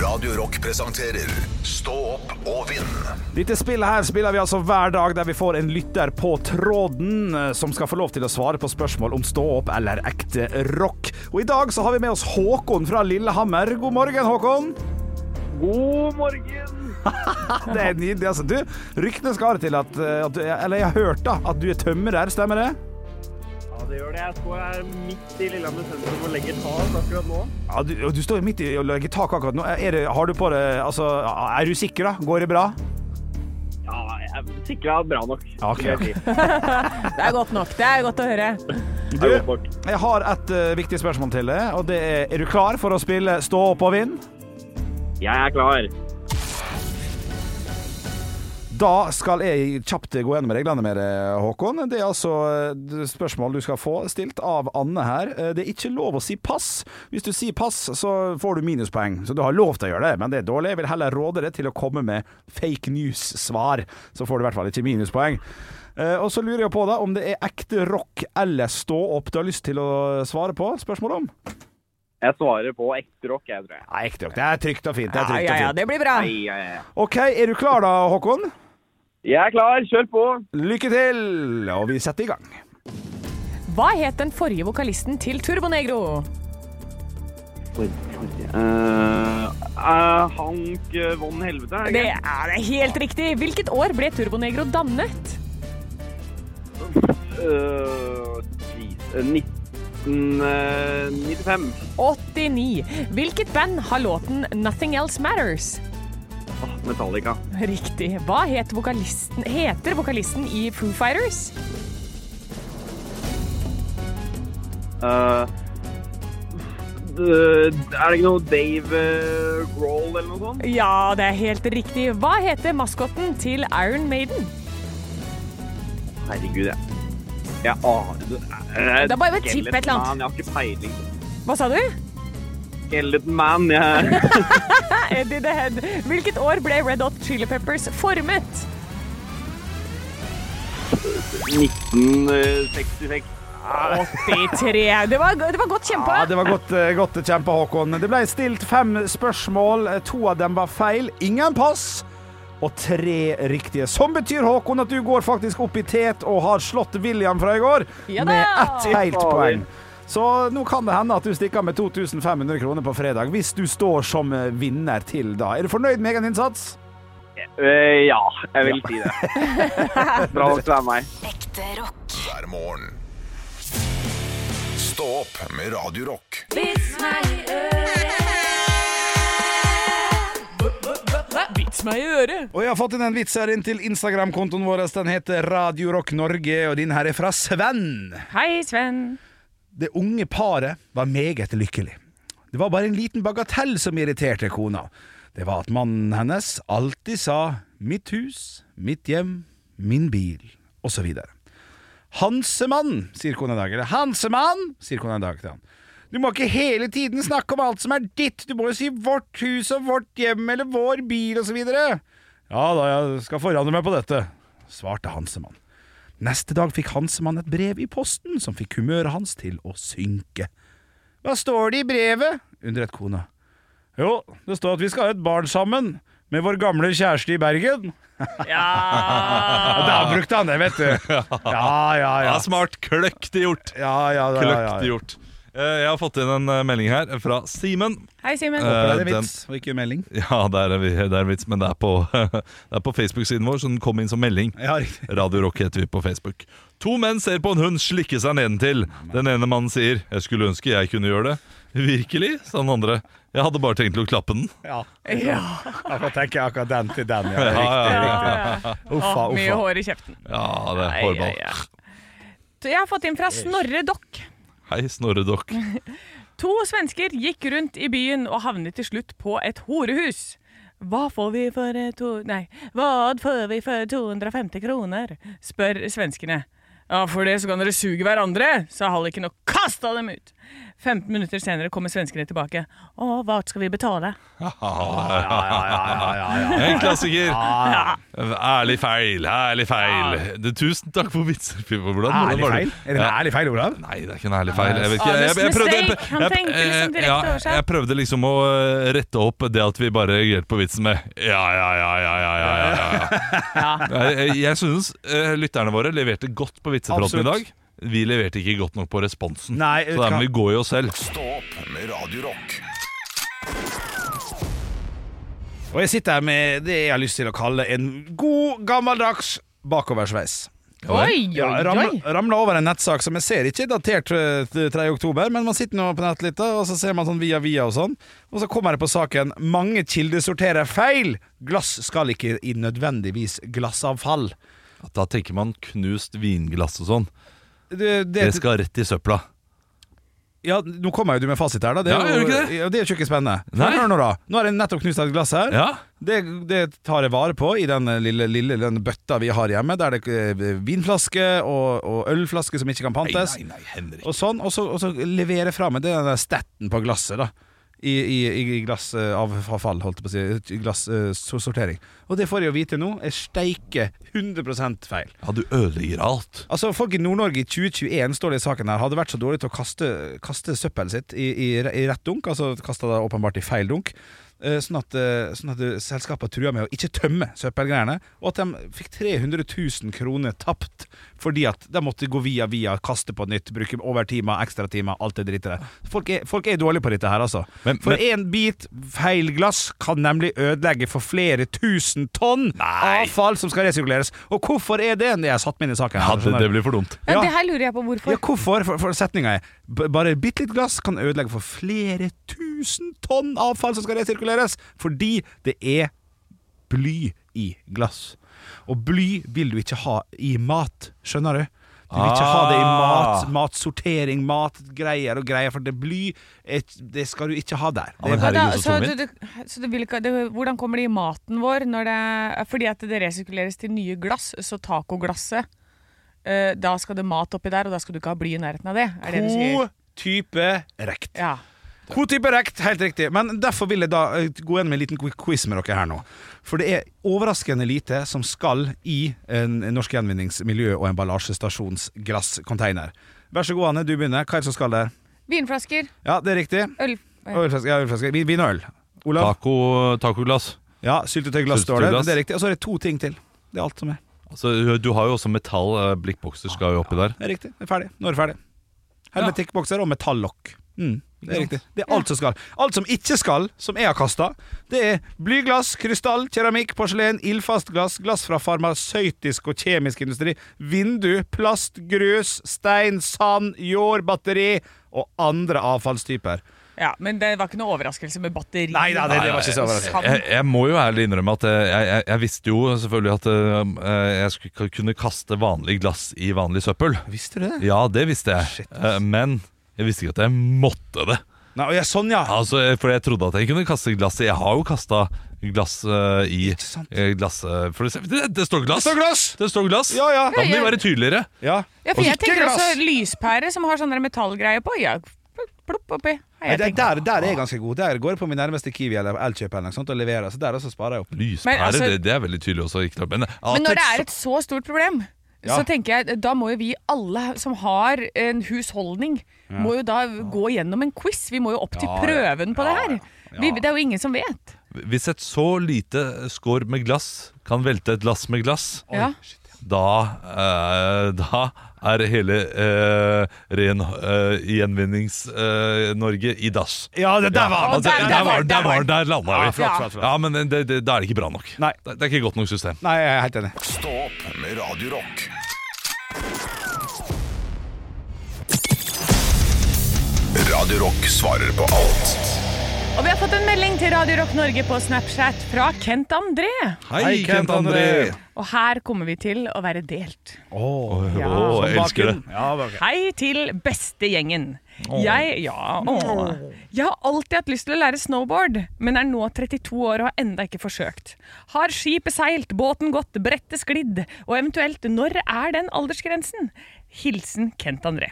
[SPEAKER 1] Radio Rock presenterer Stå opp og vinn.
[SPEAKER 3] Dette spillet her spiller vi altså hver dag der vi får en lytter på tråden eh, som skal få lov til å svare på spørsmål om stå opp eller ekte rock. Og i dag så har vi med oss Håkon fra Lillehammer. God morgen, Håkon.
[SPEAKER 6] God morgen!
[SPEAKER 3] Det er nydelig, altså. Du, ryktene skal ha det til at, eh, at du, Eller jeg har hørt da, at du er tømrer, stemmer det?
[SPEAKER 6] Ja, det gjør det. Jeg står her midt i Lillehammer sentrum og legger tak akkurat nå.
[SPEAKER 3] Ja, du, og du står jo midt i å legge tak akkurat nå. Er det, har du på det Altså, er du sikker, da? Går det bra?
[SPEAKER 6] Ja, jeg sikra bra nok.
[SPEAKER 3] Ja, ok,
[SPEAKER 6] vil jeg si.
[SPEAKER 4] Det er godt nok. Det er godt å høre.
[SPEAKER 6] Det er godt nok.
[SPEAKER 3] Jeg har et eh, viktig spørsmål til deg, og det er Er du klar for å spille Stå opp og vinn?
[SPEAKER 6] Jeg er klar.
[SPEAKER 3] Da skal jeg kjapt gå gjennom reglene med deg, Håkon. Det er altså eh, spørsmål du skal få stilt av Anne her. Eh, Det er ikke lov å si pass. Hvis du sier pass, så får du minuspoeng. Så du har lov til å gjøre det, men det er dårlig. Jeg vil heller råde deg til å komme med fake news-svar. Så får du i hvert fall ikke minuspoeng. Eh, Og så lurer jeg på da om det er ekte rock eller stå opp du har lyst til å svare på spørsmål om.
[SPEAKER 6] Jeg svarer på ekte rock, jeg tror jeg.
[SPEAKER 3] Nei, ekte rock. Det er trygt og fint. Det
[SPEAKER 4] Ja,
[SPEAKER 3] er trygt
[SPEAKER 4] ja, ja,
[SPEAKER 3] og fint.
[SPEAKER 4] det blir bra.
[SPEAKER 6] Nei, ja, ja.
[SPEAKER 3] OK, er du klar da, Håkon?
[SPEAKER 6] Jeg er klar. Kjør på.
[SPEAKER 3] Lykke til! Og vi setter i gang.
[SPEAKER 4] Hva het den forrige vokalisten til Turbonegro?
[SPEAKER 6] Uh, uh, Hank eh, von Helvete. er
[SPEAKER 4] Det er det helt riktig. Hvilket år ble Turbonegro dannet?
[SPEAKER 6] Eh, jeez, eh, 1995.
[SPEAKER 4] 89. Hvilket band har låten 'Nothing Else Matters'?
[SPEAKER 6] Ah, Metallica.
[SPEAKER 4] Riktig. Hva het vokalisten, heter vokalisten i Foo Fighters?
[SPEAKER 6] Eh, d- er det ikke noe Dave eh, Grohl eller noe sånt?
[SPEAKER 4] Ja, det er helt riktig. Hva heter maskotten til Iron Maiden?
[SPEAKER 6] Herregud, jeg Jeg aner det. Eh,
[SPEAKER 4] Da bare tipp
[SPEAKER 6] Skeleton
[SPEAKER 4] et eller annet.
[SPEAKER 6] Man, Jeg har ikke peiling.
[SPEAKER 4] Hva sa du?
[SPEAKER 6] Skeleton Man. Jeg,
[SPEAKER 4] Eddie the Head. Hvilket år ble Red Hot Chili Peppers formet?
[SPEAKER 6] eh, 1966.
[SPEAKER 4] 83. Det var, det var godt kjempa.
[SPEAKER 3] Ja, det var godt, eh, godt kjempa, Håkon. Det ble stilt fem spørsmål. Eh, To av dem var feil. Ingen pass. Og tre riktige. Som betyr, Håkon, at du går faktisk opp i tet og har slått William fra i går
[SPEAKER 4] Ja da!
[SPEAKER 3] med ett helt
[SPEAKER 6] Fy faen.
[SPEAKER 3] poeng. Så nå kan det hende at du stikker av med 2500 kroner på fredag, hvis du står som eh, vinner til da. Er du fornøyd med egen innsats?
[SPEAKER 6] Eh, ja, jeg vil si det. Bra nok til å være meg.
[SPEAKER 5] Ekte rock.
[SPEAKER 1] hver morgen. Stå opp med Radio Rock.
[SPEAKER 4] Vits meg i øret.
[SPEAKER 3] Og jeg har fått inn en vits her inn til Instagram-kontoen vår. Den heter Radio Rock Norge, og din her er fra Sven.
[SPEAKER 4] Hei, Sven.
[SPEAKER 3] Det unge paret var meget lykkelig. Det var bare en liten bagatell som irriterte kona. Det var at mannen hennes alltid sa 'mitt hus, mitt hjem, min bil', osv. Hansemann, sier kona i dag. Eller Hansemann, sier kona i dag til han. Du må ikke hele tiden snakke om alt som er ditt, du må jo si vårt hus og vårt hjem eller vår bil osv. Ja da, jeg skal forandre meg på dette, svarte Hansemann. Neste dag fikk Hansemann et brev i posten som fikk humøret hans til å synke. Hva står det i brevet? undret kona. Jo, det står at vi skal ha et barn sammen, med vår gamle kjæreste i Bergen.
[SPEAKER 4] Ja.
[SPEAKER 3] Da brukte han det, vet du. Ja, ja, ja.
[SPEAKER 2] Ah. Ja, smart. Kløktig gjort.
[SPEAKER 3] Ja, ja, ja, ja,
[SPEAKER 2] Kløktig
[SPEAKER 3] ja.
[SPEAKER 2] gjort. Eh, Jeg har fått inn en eh, melding her fra Simen.
[SPEAKER 4] Hei, Simen.
[SPEAKER 2] Eh,
[SPEAKER 3] Det er
[SPEAKER 2] den-
[SPEAKER 3] vits, og ikke melding.
[SPEAKER 2] Ja, det er, en vi- det er en vits, men det er på, det er på Facebook-siden vår, så den kom inn som melding.
[SPEAKER 3] Ja, riktig.
[SPEAKER 2] Radio Rock heter vi på Facebook. To menn ser på en hund slikke seg nedentil. Den ene mannen sier 'Jeg skulle ønske jeg kunne gjøre det'. Virkelig, sa den andre. Jeg hadde bare tenkt til å klappe den.
[SPEAKER 3] Ja,
[SPEAKER 4] Ja.
[SPEAKER 3] Derfor tenker jeg akkurat den til den. Ja,
[SPEAKER 2] Ja,
[SPEAKER 3] riktig,
[SPEAKER 2] ja, ja.
[SPEAKER 3] riktig. Uffa,
[SPEAKER 4] Å, Mye
[SPEAKER 3] uffa.
[SPEAKER 4] hår i kjeften.
[SPEAKER 2] ja det er
[SPEAKER 4] Ai, ai, ai.
[SPEAKER 2] hårball.
[SPEAKER 4] Så Jeg har fått inn fra Snorre Dokk.
[SPEAKER 2] Hei, Snorre Dokk.
[SPEAKER 4] To svensker gikk rundt i byen og havnet til slutt på et horehus. Hva får vi for eh, to... Nei, hva får vi for 250 kroner? spør svenskene. Ja, for det så kan dere suge hverandre, sa halliken og kasta dem ut. 15 minutter senere kommer svenskene tilbake. Å, hva skal vi betale?
[SPEAKER 2] En klassiker. Ærlig feil, ærlig feil. Du, Tusen takk for vitser. Fy, Hvordan, hvordan
[SPEAKER 3] Ærlig
[SPEAKER 2] var det?
[SPEAKER 3] feil? Er det en ærlig feil, Olav?
[SPEAKER 2] Nei, det er ikke en ærlig feil. Jeg, vet ikke.
[SPEAKER 4] Honest
[SPEAKER 2] jeg, jeg, prøvde, jeg,
[SPEAKER 4] mistake. Han
[SPEAKER 2] jeg- eh,
[SPEAKER 4] tenkte liksom direkte
[SPEAKER 2] ja,
[SPEAKER 4] over seg.
[SPEAKER 2] jeg prøvde liksom å eh, rette opp det at vi bare reagerte på vitsen med ja, ja, ja, ja, ja, ja, ja, ja. Jeg- Jeg, jeg synes eh, lytterne våre leverte godt på vitsefronten i
[SPEAKER 3] Absolutt.
[SPEAKER 2] dag. Vi leverte ikke godt nok på responsen,
[SPEAKER 3] Nei,
[SPEAKER 2] så der må
[SPEAKER 3] kan-
[SPEAKER 2] vi gå i oss selv.
[SPEAKER 1] Stå opp med Radio Rock.
[SPEAKER 3] Og jeg sitter her med det jeg har lyst til å kalle en god, gammeldags bakoversveis.
[SPEAKER 4] Oi,
[SPEAKER 3] Ja,
[SPEAKER 4] oi,
[SPEAKER 3] ramla,
[SPEAKER 4] oi!
[SPEAKER 3] ramla over en nettsak som jeg ser ikke er datert eh, til 3. oktober, men man sitter nå på nett litt, da, og så ser man sånn via via og sånn. Og så kommer det på saken 'Mange kildesorterer feil'. Glass skal ikke i nødvendigvis glassavfall.
[SPEAKER 2] At Da tenker man knust vinglass og sånn.
[SPEAKER 3] Det,
[SPEAKER 2] Det
[SPEAKER 3] det,
[SPEAKER 2] skal rett i søpla.
[SPEAKER 3] ja, nå kommer jo du med fasit her, da. Det er
[SPEAKER 2] Ja,
[SPEAKER 3] jo,
[SPEAKER 2] gjør du ikke det?
[SPEAKER 3] ja, det er jo ikke spennende.
[SPEAKER 2] Nei.
[SPEAKER 3] Hør nå, da. Nå har jeg nettopp knust et glass her.
[SPEAKER 2] Ja,
[SPEAKER 3] Det, det tar jeg vare på i den lille, lille den bøtta vi har hjemme, der det er vinflaske og, og ølflaske som ikke kan pantes.
[SPEAKER 2] Nei, nei, nei, Henrik.
[SPEAKER 3] Og sånn, og så, og så leverer jeg fra meg den der stetten på glasset, da. I, i, i glassavfall, holdt jeg på å si. Glassortering. Og det får jeg jo vite nå. Jeg steiker 100 feil.
[SPEAKER 2] Ja, du ødelegger alt.
[SPEAKER 3] Altså, Folk i Nord-Norge i 2021 står det i saken her, hadde vært så dårlige til å kaste, kaste søppelet sitt i, i, i rett dunk, altså kasta det åpenbart i feil dunk, eh, sånn at, eh, sånn at eh, selskapet trua med å ikke tømme søppelgreiene, og at de fikk 300 000 kroner tapt fordi at de måtte gå via via, kaste på nytt, bruke overtimer, ekstratimer, alt det drittet der. Folk er, folk er dårlige på dette her, altså.
[SPEAKER 2] Men-
[SPEAKER 3] for én bit feil glass kan nemlig ødelegge for flere tusen tonn avfall som skal resirkuleres. Og hvorfor er det? Det er satt meg inn i saken. her,
[SPEAKER 2] Ja, det,
[SPEAKER 3] skjønner du.
[SPEAKER 2] det blir for dumt.
[SPEAKER 4] Ja,
[SPEAKER 3] Ja.
[SPEAKER 4] det her lurer jeg på
[SPEAKER 3] Ja,
[SPEAKER 4] hvorfor.
[SPEAKER 3] hvorfor? For, for setninga er b- Bare bitte litt glass kan ødelegge for flere tusen tonn avfall som skal resirkuleres, fordi det er bly i glass. Og bly vil du ikke ha i mat, skjønner du? Du vil ikke ha det i
[SPEAKER 2] Ah.
[SPEAKER 3] mat, matsortering, matgreier og greier, for det bly eh, Det skal du ikke ha der.
[SPEAKER 2] Ja, men
[SPEAKER 3] Det,
[SPEAKER 4] Ja, da,
[SPEAKER 2] herregud, så
[SPEAKER 4] så,
[SPEAKER 2] tungvint.
[SPEAKER 4] så, det, så det vil ikke, det, hvordan kommer det i maten vår? Når det, fordi at det resirkuleres til nye glass, så tacoglasset eh, Da skal det mat oppi der, og da skal du ikke ha bly i nærheten av det. Er det vi sier?
[SPEAKER 3] god type rekt.
[SPEAKER 4] Ja.
[SPEAKER 3] God type rekt, helt riktig. Men derfor vil jeg da eh, gå gjennom en liten quick quiz med dere her nå. For det er overraskende lite som skal i en norsk gjenvinningsmiljø og emballasjestasjons glasscontainer. Vær så god, Anne, du begynner. Hva er det som skal der?
[SPEAKER 4] Vinflasker,
[SPEAKER 3] Ja, det er riktig.
[SPEAKER 4] øl eh,
[SPEAKER 3] Ølflaske. Ja, ølflaske. Vin- Vin og øl. Olav?
[SPEAKER 2] Taco, tacoglass.
[SPEAKER 3] Ja, Syltetøyglass står det.
[SPEAKER 2] Syltetøyglass.
[SPEAKER 3] Det er riktig. Og så er det to ting til. Det er alt som er.
[SPEAKER 2] Altså, du har jo også metall. eh, Blikkbokser skal jo oppi der.
[SPEAKER 3] Det er riktig. Det er ferdig. Nå er det ferdig. Hermetikkbokser og metallokk. Mm. Det er riktig. Det er alt som skal. Alt som ikke skal, som jeg har kasta, det er blyglass, krystall, keramikk, porselen, ildfast glass, glass fra farmasøytisk og kjemisk industri, vindu, plast, grus, stein, sand, jord, batteri og andre avfallstyper.
[SPEAKER 4] Ja, men det var ikke noe overraskelse med batteri.
[SPEAKER 3] Nei da, det, det var ikke så overraskende.
[SPEAKER 4] Sand.
[SPEAKER 2] Jeg, jeg må jo ærlig innrømme at eh, jeg, jeg, jeg visste jo selvfølgelig at eh, jeg skulle kunne kaste vanlig glass i vanlig søppel.
[SPEAKER 3] Visste du det?
[SPEAKER 2] Ja, det visste jeg. Eh, Men jeg visste ikke at jeg måtte det.
[SPEAKER 3] Nei, og jeg, sånn, ja.
[SPEAKER 2] Altså, eh, For jeg trodde at jeg kunne kaste glass. Jeg har jo kasta glass eh, i
[SPEAKER 3] sant.
[SPEAKER 2] eh, glass... eh, For det, det, det står glass!
[SPEAKER 3] Så glass!
[SPEAKER 2] Det står glass!
[SPEAKER 3] Ja, ja.
[SPEAKER 2] Da må vi være tydeligere.
[SPEAKER 3] ja.
[SPEAKER 4] Ja, for jeg
[SPEAKER 3] Ikke
[SPEAKER 4] tenker
[SPEAKER 3] glass.
[SPEAKER 4] også lyspære som har sånn der metallgreie på. Ja, plopp, plopp oppi. har
[SPEAKER 3] Nei,
[SPEAKER 4] jeg
[SPEAKER 3] der,
[SPEAKER 4] tenkt.
[SPEAKER 3] der, der er jeg ganske god. Der går jeg på min nærmeste Kiwi eller Elkjøp eller noe sånt og leverer. Så der også sparer jeg opp.
[SPEAKER 2] Lyspære,
[SPEAKER 4] Men altså-
[SPEAKER 2] det, det er veldig tydelig også. Ikke, klart, men, eh, ja,
[SPEAKER 4] Men når det
[SPEAKER 2] tekst-
[SPEAKER 4] er et så stort problem,
[SPEAKER 3] Ja.
[SPEAKER 4] så tenker jeg da må jo vi alle som har en husholdning, må jo da gå gjennom en quiz. Vi må jo opp til
[SPEAKER 3] Ja, ja.
[SPEAKER 4] prøven på det
[SPEAKER 3] Ja,
[SPEAKER 4] her.
[SPEAKER 3] ja.
[SPEAKER 4] Vi, det
[SPEAKER 3] Ja.
[SPEAKER 4] er jo ingen som vet.
[SPEAKER 2] Hvis et så lite skår med glass kan velte et lass med glass,
[SPEAKER 4] Ja.
[SPEAKER 2] da, eh, da er hele eh, ren eh, gjenvinnings-Norge i dass.
[SPEAKER 3] Ja, det der var
[SPEAKER 2] Altså,
[SPEAKER 4] der- der
[SPEAKER 2] der,
[SPEAKER 4] var-
[SPEAKER 2] var, der,
[SPEAKER 4] der var-
[SPEAKER 2] var, der landa
[SPEAKER 3] Ja,
[SPEAKER 2] vi.
[SPEAKER 3] flott, flott, flott.
[SPEAKER 2] Ja, men eh, det, det, da er det ikke bra nok.
[SPEAKER 3] Nei.
[SPEAKER 2] Det, det er ikke godt nok system.
[SPEAKER 3] Nei, jeg er helt enig.
[SPEAKER 1] Stå opp med Radio Rock. Radio Rock svarer på alt.
[SPEAKER 4] Og vi har fått en melding til Radio Rock Norge på Snapchat fra Kent André.
[SPEAKER 2] Hei,
[SPEAKER 3] Kent André.
[SPEAKER 4] Og her kommer vi til å være delt.
[SPEAKER 3] Oh,
[SPEAKER 2] Åh,
[SPEAKER 4] Ja.
[SPEAKER 2] jeg elsker det.
[SPEAKER 3] Ja, ok.
[SPEAKER 4] Hei til beste gjengen. Jeg, ja, åh. jeg har alltid hatt lyst til å lære snowboard, men er nå 32 år og har enda ikke forsøkt. Har skipet seilt, båten gått, brettet sklidd, og eventuelt når er den aldersgrensen? Hilsen Kent André.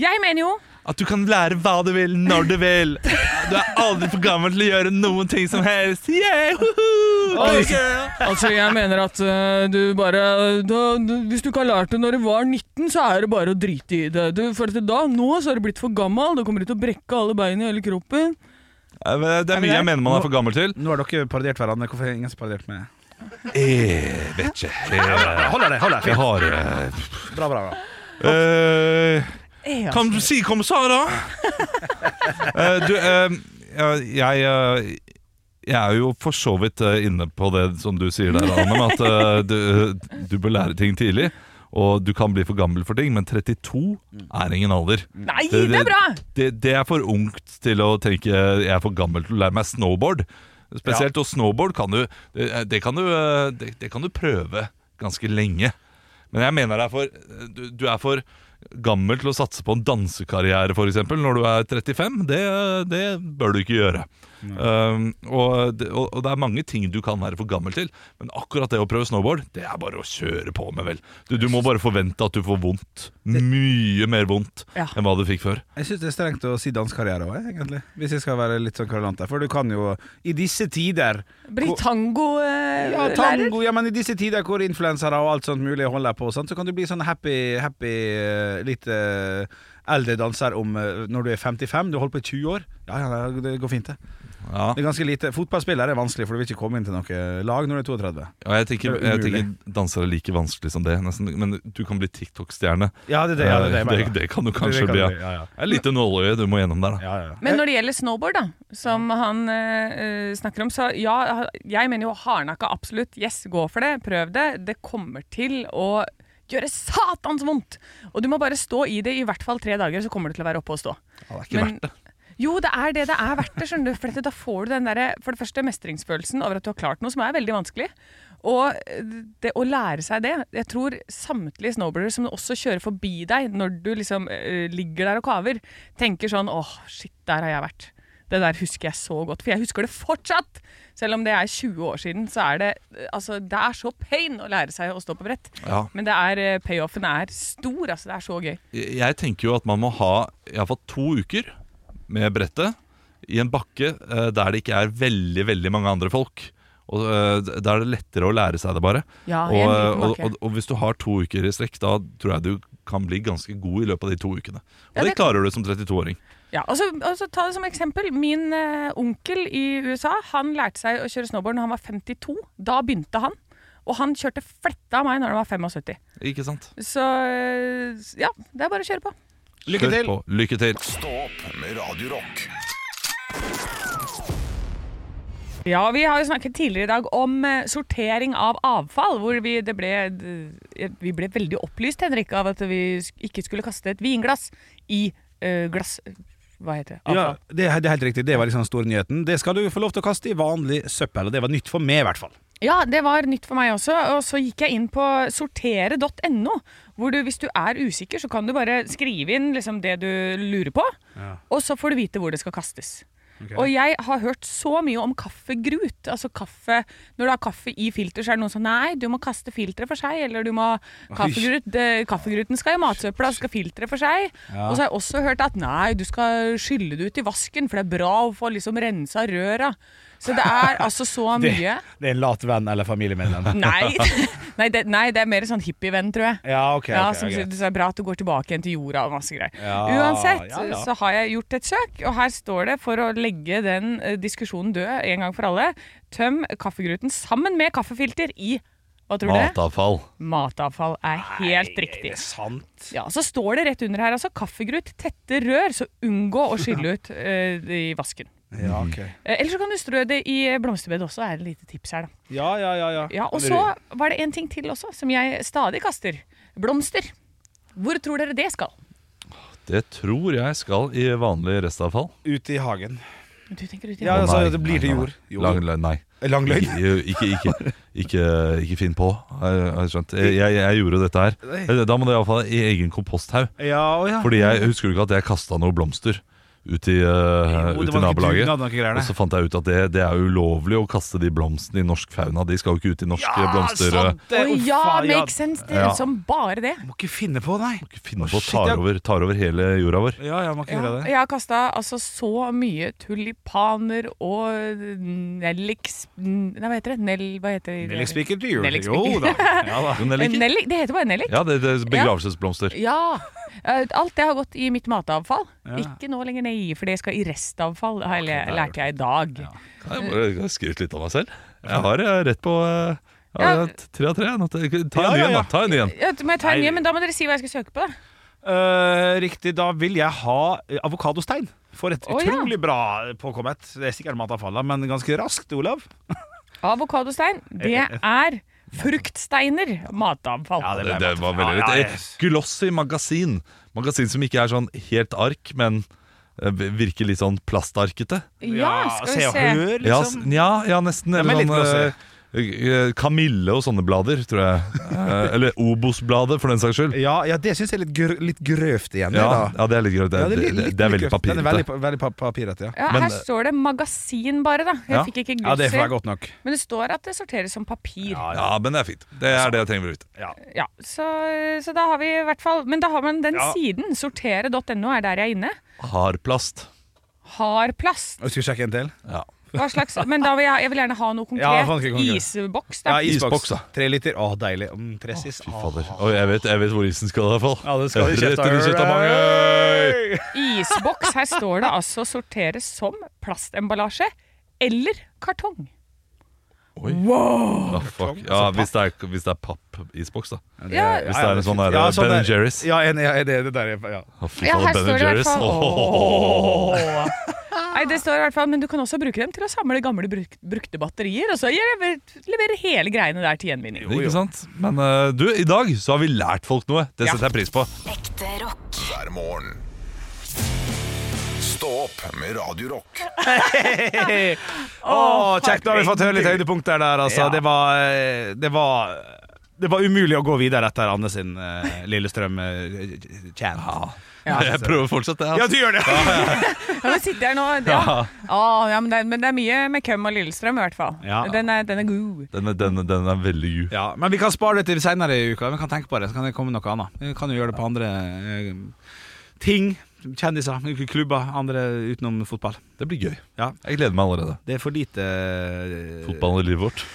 [SPEAKER 4] Jeg mener jo
[SPEAKER 2] At du kan lære hva du vil, når du vil. Du er aldri for gammel til å gjøre noen ting som helst. Yeah, woohoo,
[SPEAKER 4] Oi.
[SPEAKER 2] girl.
[SPEAKER 4] Altså, jeg mener at eh, du bare da, du, Hvis du ikke har lært det når du var 19, så er det bare å drite i det. Du, for at da, nå så er du blitt for gammel, du kommer til å brekke alle beina i hele kroppen.
[SPEAKER 2] Eh, men Det er mye jeg mener man er for gammel til.
[SPEAKER 3] Nå har dere parodiert hverandre. Hvorfor er ingen som parodiert meg?
[SPEAKER 2] Jeg vet ikke. Jeg,
[SPEAKER 3] Holder det, holder det.
[SPEAKER 2] jeg har
[SPEAKER 3] Bra, bra, bra.
[SPEAKER 2] eh,
[SPEAKER 4] Eh,
[SPEAKER 2] Kan du si kommissar, da? Eh, du, eh, ja, jeg eh, Jeg er jo for så vidt eh, inne på det som du sier der, Anne, med at eh, du, du bør lære ting tidlig. Og du kan bli for gammel for ting, men 32 er ingen alder.
[SPEAKER 4] Nei, det er bra!
[SPEAKER 2] Det, det er for ungt til å tenke jeg er for gammel til å lære meg snowboard. Spesielt, og snowboard kan du det, det kan du eh, det, det kan du prøve ganske lenge. Men jeg mener det er for du, du er for gammel til å satse på en dansekarriere for eksempel, når du er 35. Det, det bør du ikke gjøre. Um, og, det, og, og det er mange ting du kan være for gammel til, men akkurat det å prøve snowboard, det er bare å kjøre på med, vel. Du, du må bare forvente at du får vondt. Mye mer vondt
[SPEAKER 4] Ja.
[SPEAKER 2] enn hva du fikk før.
[SPEAKER 3] Jeg syns det er strengt å si dansekarriere òg, egentlig. Hvis jeg skal være litt sånn kverulant der. For du kan jo, i disse tider
[SPEAKER 4] Bli tangolærer.
[SPEAKER 3] Ja, tango, ja, men i disse tider hvor influensere og alt sånt mulig holder på, sant, så kan du bli sånn happy, happy eh, litt eh, eldre danser om eh, når du er 55. Du holder på i 20 år. Ja, ja, det går fint, det.
[SPEAKER 2] Ja.
[SPEAKER 3] Det er ganske lite Fotballspiller er vanskelig, for du vil ikke komme inn til noe lag når du er 32.
[SPEAKER 2] Ja, jeg tenker,
[SPEAKER 3] Det er
[SPEAKER 2] jeg
[SPEAKER 3] umulig.
[SPEAKER 2] tenker dansere er like vanskelig som det, nesten. Men du kan bli TikTok-stjerne. Eh,
[SPEAKER 3] Ja, det er det, ja, det, er det, jeg
[SPEAKER 2] det,
[SPEAKER 3] mener.
[SPEAKER 2] det kan du
[SPEAKER 3] kan
[SPEAKER 2] kanskje
[SPEAKER 3] du
[SPEAKER 2] bli. Ja.
[SPEAKER 3] bli, ja, ja.
[SPEAKER 2] Det er lite nåløye du må gjennom der, da.
[SPEAKER 3] Ja, ja, ja.
[SPEAKER 4] Men når det gjelder snowboard, da, som han eh, eh, snakker om, så ja, jeg mener jo hardnakka absolutt. Yes, gå for det. Prøv det. Det kommer til å gjøre satans vondt! Og du må bare stå i det i hvert fall tre dager, så kommer du til å være oppe og stå.
[SPEAKER 2] Ja, det er ikke
[SPEAKER 4] Men-
[SPEAKER 2] verdt det.
[SPEAKER 4] Jo, det er det det er verdt det, skjønner du. For dette- da får du den derre, for det første mestringsfølelsen over at du har klart noe som er veldig vanskelig. Og eh, det å lære seg det Jeg tror samtlige snowboardere som også kjører forbi deg når du liksom eh, ligger der og kaver, tenker sånn åh, shit, der har jeg vært. Det der husker jeg så godt. For jeg husker det fortsatt! Selv om det er 20 år siden, så er det eh, Altså, det er så pain å lære seg å stå på brett.
[SPEAKER 2] Ja.
[SPEAKER 4] Men det er, eh, payoffen er stor, altså. Det er så gøy.
[SPEAKER 2] Jeg jeg tenker jo at man må ha iallfall to uker med brettet i en bakke eh, der det ikke er veldig, veldig mange andre folk. Og eh, Der er det lettere å lære seg det, bare.
[SPEAKER 4] Ja,
[SPEAKER 2] og,
[SPEAKER 4] i en
[SPEAKER 2] eh,
[SPEAKER 4] liten
[SPEAKER 2] og,
[SPEAKER 4] bakke.
[SPEAKER 2] og, og hvis du har to uker i strekk, da tror jeg du kan bli ganske god i løpet av de to ukene. Og
[SPEAKER 4] Ja,
[SPEAKER 2] det
[SPEAKER 4] det kan-
[SPEAKER 2] klarer du som 32-åring.
[SPEAKER 4] Ja, og så, og så ta det som eksempel. Min eh, onkel i USA han lærte seg å kjøre snowboard når han var 52. Da begynte han. Og han kjørte fletta av meg når han var 75.
[SPEAKER 2] Ikke sant?
[SPEAKER 4] Så eh, s- ja, det er bare å kjøre på.
[SPEAKER 3] Lykke
[SPEAKER 2] Kjør
[SPEAKER 3] til!
[SPEAKER 2] på. Lykke til.
[SPEAKER 1] Stå opp med Radio Rock.
[SPEAKER 4] Ja, Vi har jo snakket tidligere i dag om eh, sortering av avfall. hvor Vi, det ble, d- eh, vi ble veldig opplyst Henrik, av at vi sk- ikke skulle kaste et vinglass i eh, glass... Hva heter det?
[SPEAKER 3] Ja,
[SPEAKER 4] Avfall.
[SPEAKER 3] det, er- det er helt riktig. Det var liksom den store nyheten. Det skal du få lov til å kaste i vanlig søppel, og det var nytt for meg, i hvert fall.
[SPEAKER 4] Ja, det var nytt for meg også. Og så gikk jeg inn på sortere.no. Hvor du, hvis du er usikker, så kan du bare skrive inn liksom det du lurer på. Og så får du vite hvor det skal kastes. Og jeg har hørt så mye om kaffegrut. Altså kaffe Når du har kaffe i filter, så er det noen sånn Nei, du må kaste filteret for seg. Eller du må kaffegrut, eh, Kaffegruten skal i matsøpla, så skal filteret for seg. Og så har jeg også hørt at nei, du skal skylle det ut i vasken, for det er bra å få liksom rensa røra. Så det er altså så
[SPEAKER 3] Det,
[SPEAKER 4] mye.
[SPEAKER 3] det er en lat venn eller familiemedlem.
[SPEAKER 4] Nei. nei, det, nei, det er mer sånn hippievenn, tror jeg.
[SPEAKER 3] Ja, ok.
[SPEAKER 4] ja,
[SPEAKER 3] ok,
[SPEAKER 4] som
[SPEAKER 3] ok.
[SPEAKER 4] sier, Det er bra at du går tilbake igjen til jorda og masse greier.
[SPEAKER 3] Ja,
[SPEAKER 4] Uansett
[SPEAKER 3] ja, ja.
[SPEAKER 4] så har jeg gjort et søk, og her står det, for å legge den eh, diskusjonen død en gang for alle, tøm kaffegruten sammen med kaffefilter i hva tror du?
[SPEAKER 2] Matavfall.
[SPEAKER 4] Matavfall er helt
[SPEAKER 3] Er
[SPEAKER 4] riktig.
[SPEAKER 3] det sant?
[SPEAKER 4] Ja, Så står det rett under her altså kaffegrut, tette rør, så unngå å skylle ut eh, i vasken.
[SPEAKER 2] Mm.
[SPEAKER 3] Ja, ok.
[SPEAKER 4] Eh, Eller så kan du strø det i blomsterbedet også, er et lite tips her, da.
[SPEAKER 3] Ja, ja, ja. ja.
[SPEAKER 4] Ja, og så var det en ting til også, som jeg stadig kaster. Blomster. Hvor tror dere det skal?
[SPEAKER 2] Det tror jeg skal i vanlig restavfall.
[SPEAKER 3] Ute i hagen.
[SPEAKER 4] Du tenker ut i
[SPEAKER 3] Ja,
[SPEAKER 2] Å,
[SPEAKER 3] altså,
[SPEAKER 2] nei,
[SPEAKER 3] det blir
[SPEAKER 2] nei,
[SPEAKER 3] til
[SPEAKER 2] nei,
[SPEAKER 3] jord.
[SPEAKER 2] nei. Lang, løgn, nei.
[SPEAKER 3] Lang løgn.
[SPEAKER 2] Ikke, ikke, ikke, ikke, ikke finn på, har jeg- har jeg skjønt. Jeg, jeg, jeg gjorde dette Eh, her. Da må det iallfall i egen komposthaug.
[SPEAKER 3] Ja, å ja.
[SPEAKER 2] Fordi jeg husker du ikke at jeg kasta noen blomster. ut i, eh,
[SPEAKER 3] Jo,
[SPEAKER 2] ut
[SPEAKER 3] det
[SPEAKER 2] i
[SPEAKER 3] var noe
[SPEAKER 2] nabolaget.
[SPEAKER 3] dugnad, noe greier der.
[SPEAKER 2] og så fant jeg ut at det, det er ulovlig å kaste de blomstene i norsk fauna. De skal jo ikke ut i norsk eh, blomster...
[SPEAKER 3] sant det!
[SPEAKER 4] Å
[SPEAKER 3] Å,
[SPEAKER 4] ja,
[SPEAKER 3] faen, ja.
[SPEAKER 4] make sense! Det
[SPEAKER 2] Ja.
[SPEAKER 4] er som bare det.
[SPEAKER 3] Må ikke finne på, nei.
[SPEAKER 2] Finne
[SPEAKER 3] Å,
[SPEAKER 2] på å
[SPEAKER 3] shit,
[SPEAKER 2] tar
[SPEAKER 3] jeg-
[SPEAKER 2] over, tar over hele jorda vår.
[SPEAKER 3] Ja, ja, må ikke gjøre det.
[SPEAKER 4] Jeg har kasta altså så mye tulipaner og nelliks... Nei, hva heter det? Nell... Hva heter det?
[SPEAKER 3] Nellikspiker til jul.
[SPEAKER 4] Nellikspiker.
[SPEAKER 3] Jo da. Ja, da.
[SPEAKER 2] Men jeg liker-
[SPEAKER 4] Nellik, det heter bare nellik.
[SPEAKER 2] Ja, det, det er begravelsesblomster.
[SPEAKER 4] Ja. Eh, Alt det har gått i mitt matavfall.
[SPEAKER 3] Ja.
[SPEAKER 4] Ikke nå lenger, nei, for det skal i restavfall, har jeg, le- lærte jeg i dag.
[SPEAKER 3] Eh.
[SPEAKER 2] Jeg må jeg har skrevet litt av meg selv. Jeg har eh, rett på eh, ja,
[SPEAKER 4] Ja.
[SPEAKER 2] tre av tre. Nå, Ta ta en
[SPEAKER 3] Ja,
[SPEAKER 2] ny
[SPEAKER 3] ja,
[SPEAKER 2] en, da.
[SPEAKER 3] ja.
[SPEAKER 2] Ta en ny en.
[SPEAKER 4] Ja, må jeg ta en
[SPEAKER 3] Nei.
[SPEAKER 4] ny, men da må dere si hva jeg skal søke på. da.
[SPEAKER 3] Eh, riktig, da vil jeg ha eh, avokadostein. For et
[SPEAKER 4] Å, ja.
[SPEAKER 3] utrolig bra påkommet. Det er sikkert matavfallet, men ganske raskt, Olav.
[SPEAKER 4] Avokadostein, det er fruktsteiner. Matavfall.
[SPEAKER 3] Eh, Ja, det ble
[SPEAKER 2] Det, det
[SPEAKER 3] godt.
[SPEAKER 2] var veldig
[SPEAKER 3] Ja, ja,
[SPEAKER 2] lurt.
[SPEAKER 3] yes.
[SPEAKER 2] Et Glossy magasin. Magasin som ikke er sånn helt ark, men eh, virker litt sånn plastarkete.
[SPEAKER 4] Ja, skal vi
[SPEAKER 3] Se og
[SPEAKER 4] se.
[SPEAKER 3] Hør,
[SPEAKER 2] Ja,
[SPEAKER 3] liksom.
[SPEAKER 2] s- ja, ja, nesten.
[SPEAKER 3] Ja, men
[SPEAKER 2] Eller
[SPEAKER 3] litt
[SPEAKER 2] sånn eh, eh, Kamille og sånne blader, tror jeg. Eh, Eller Obos-bladet, for den saks skyld.
[SPEAKER 3] Ja, ja, det syns jeg er litt, grø litt grøvt igjen. det
[SPEAKER 2] Ja,
[SPEAKER 3] da.
[SPEAKER 2] ja, det er litt greit. Det,
[SPEAKER 3] Ja,
[SPEAKER 2] det,
[SPEAKER 3] litt-
[SPEAKER 2] det,
[SPEAKER 3] litt
[SPEAKER 2] det er veldig
[SPEAKER 3] grøvt. Den er veldig,
[SPEAKER 2] papirete.
[SPEAKER 3] pa- veldig pa- papirete, ja.
[SPEAKER 4] Ja,
[SPEAKER 2] Men-
[SPEAKER 4] her står det magasin bare, da. Jeg
[SPEAKER 2] Ja.
[SPEAKER 4] fikk ikke
[SPEAKER 3] eh, ja. Det får
[SPEAKER 4] glossy.
[SPEAKER 3] være godt nok.
[SPEAKER 4] men det står at det sorteres som papir. Ja,
[SPEAKER 2] Ja, men det er fint. Det
[SPEAKER 3] Altså-
[SPEAKER 2] er det jeg trenger å vite.
[SPEAKER 4] så, så da har vi i hvert fall Men da har man den
[SPEAKER 3] Ja.
[SPEAKER 4] siden. Sortere.no er der jeg er inne.
[SPEAKER 2] Hardplast.
[SPEAKER 4] Har plast.
[SPEAKER 3] Og Skal vi sjekke en til?
[SPEAKER 2] Ja.
[SPEAKER 4] Hva slags Men da vil jeg, jeg vil gjerne ha noe
[SPEAKER 3] Ja,
[SPEAKER 4] konkret.
[SPEAKER 3] faktisk konkret.
[SPEAKER 4] Isboks, da.
[SPEAKER 2] isboks, da.
[SPEAKER 3] Tre liter. Å, deilig. Mm, Tressis.
[SPEAKER 2] Fy fader. Oi, jeg, vet, jeg vet hvor isen skal, i hvert fall.
[SPEAKER 3] Ja, det skal i
[SPEAKER 2] Rett
[SPEAKER 3] kjefta.
[SPEAKER 2] under kjefta, mange.
[SPEAKER 4] Isboks. Her står det altså sorteres som plastemballasje eller kartong.
[SPEAKER 2] Oi. Ja, fuck. ja, hvis, det er, hvis det er pappisboks, da.
[SPEAKER 4] Ja,
[SPEAKER 2] Hvis det er en sånn der, Ben Jerry's.
[SPEAKER 3] Ja, en, ja, det, det der, er- ja.
[SPEAKER 2] Å, fy
[SPEAKER 4] Ja,
[SPEAKER 2] faen,
[SPEAKER 4] her
[SPEAKER 2] Ben
[SPEAKER 4] står det i hvert
[SPEAKER 2] Jerry's.
[SPEAKER 4] fall
[SPEAKER 2] Åh.
[SPEAKER 4] Nei, det står i hvert fall, men du kan også bruke dem til å samle gamle bruk brukte batterier, og så lever- levere hele greiene der til gjenvinning.
[SPEAKER 3] Oh,
[SPEAKER 2] Ikke sant? Men eh, du, i dag så har vi lært folk noe. Det
[SPEAKER 4] Ja.
[SPEAKER 2] setter jeg pris på.
[SPEAKER 5] Ekte rock.
[SPEAKER 1] hver morgen. Stå opp med Radio Rock.
[SPEAKER 3] Åh, kjekt, da har vi fått høre litt høydepunkter der, altså. Det var eh, Det var det var umulig å gå videre etter Anne sin eh, Lillestrøm-chant.
[SPEAKER 2] Jeg prøver fortsatt det.
[SPEAKER 3] ja,
[SPEAKER 2] Altså.
[SPEAKER 3] du gjør det!
[SPEAKER 4] Ja, men sitter her nå, ja. Ah, ja, men, det, er- men det er mye med Køm og Lillestrøm i hvert fall.
[SPEAKER 3] Ja.
[SPEAKER 4] Den, er, den er god.
[SPEAKER 2] Den, er- den, den er veldig ju.
[SPEAKER 3] Ja, men vi kan spare det til senere i uka. Vi kan tenke på det, så kan det komme noe annet. Vi kan jo gjøre det på andre eh, ting. Kjendiser, klubber, andre utenom fotball.
[SPEAKER 2] Det blir gøy.
[SPEAKER 3] Ja.
[SPEAKER 2] Jeg gleder meg allerede.
[SPEAKER 3] Det er for lite eh,
[SPEAKER 2] Fotballen i livet vårt.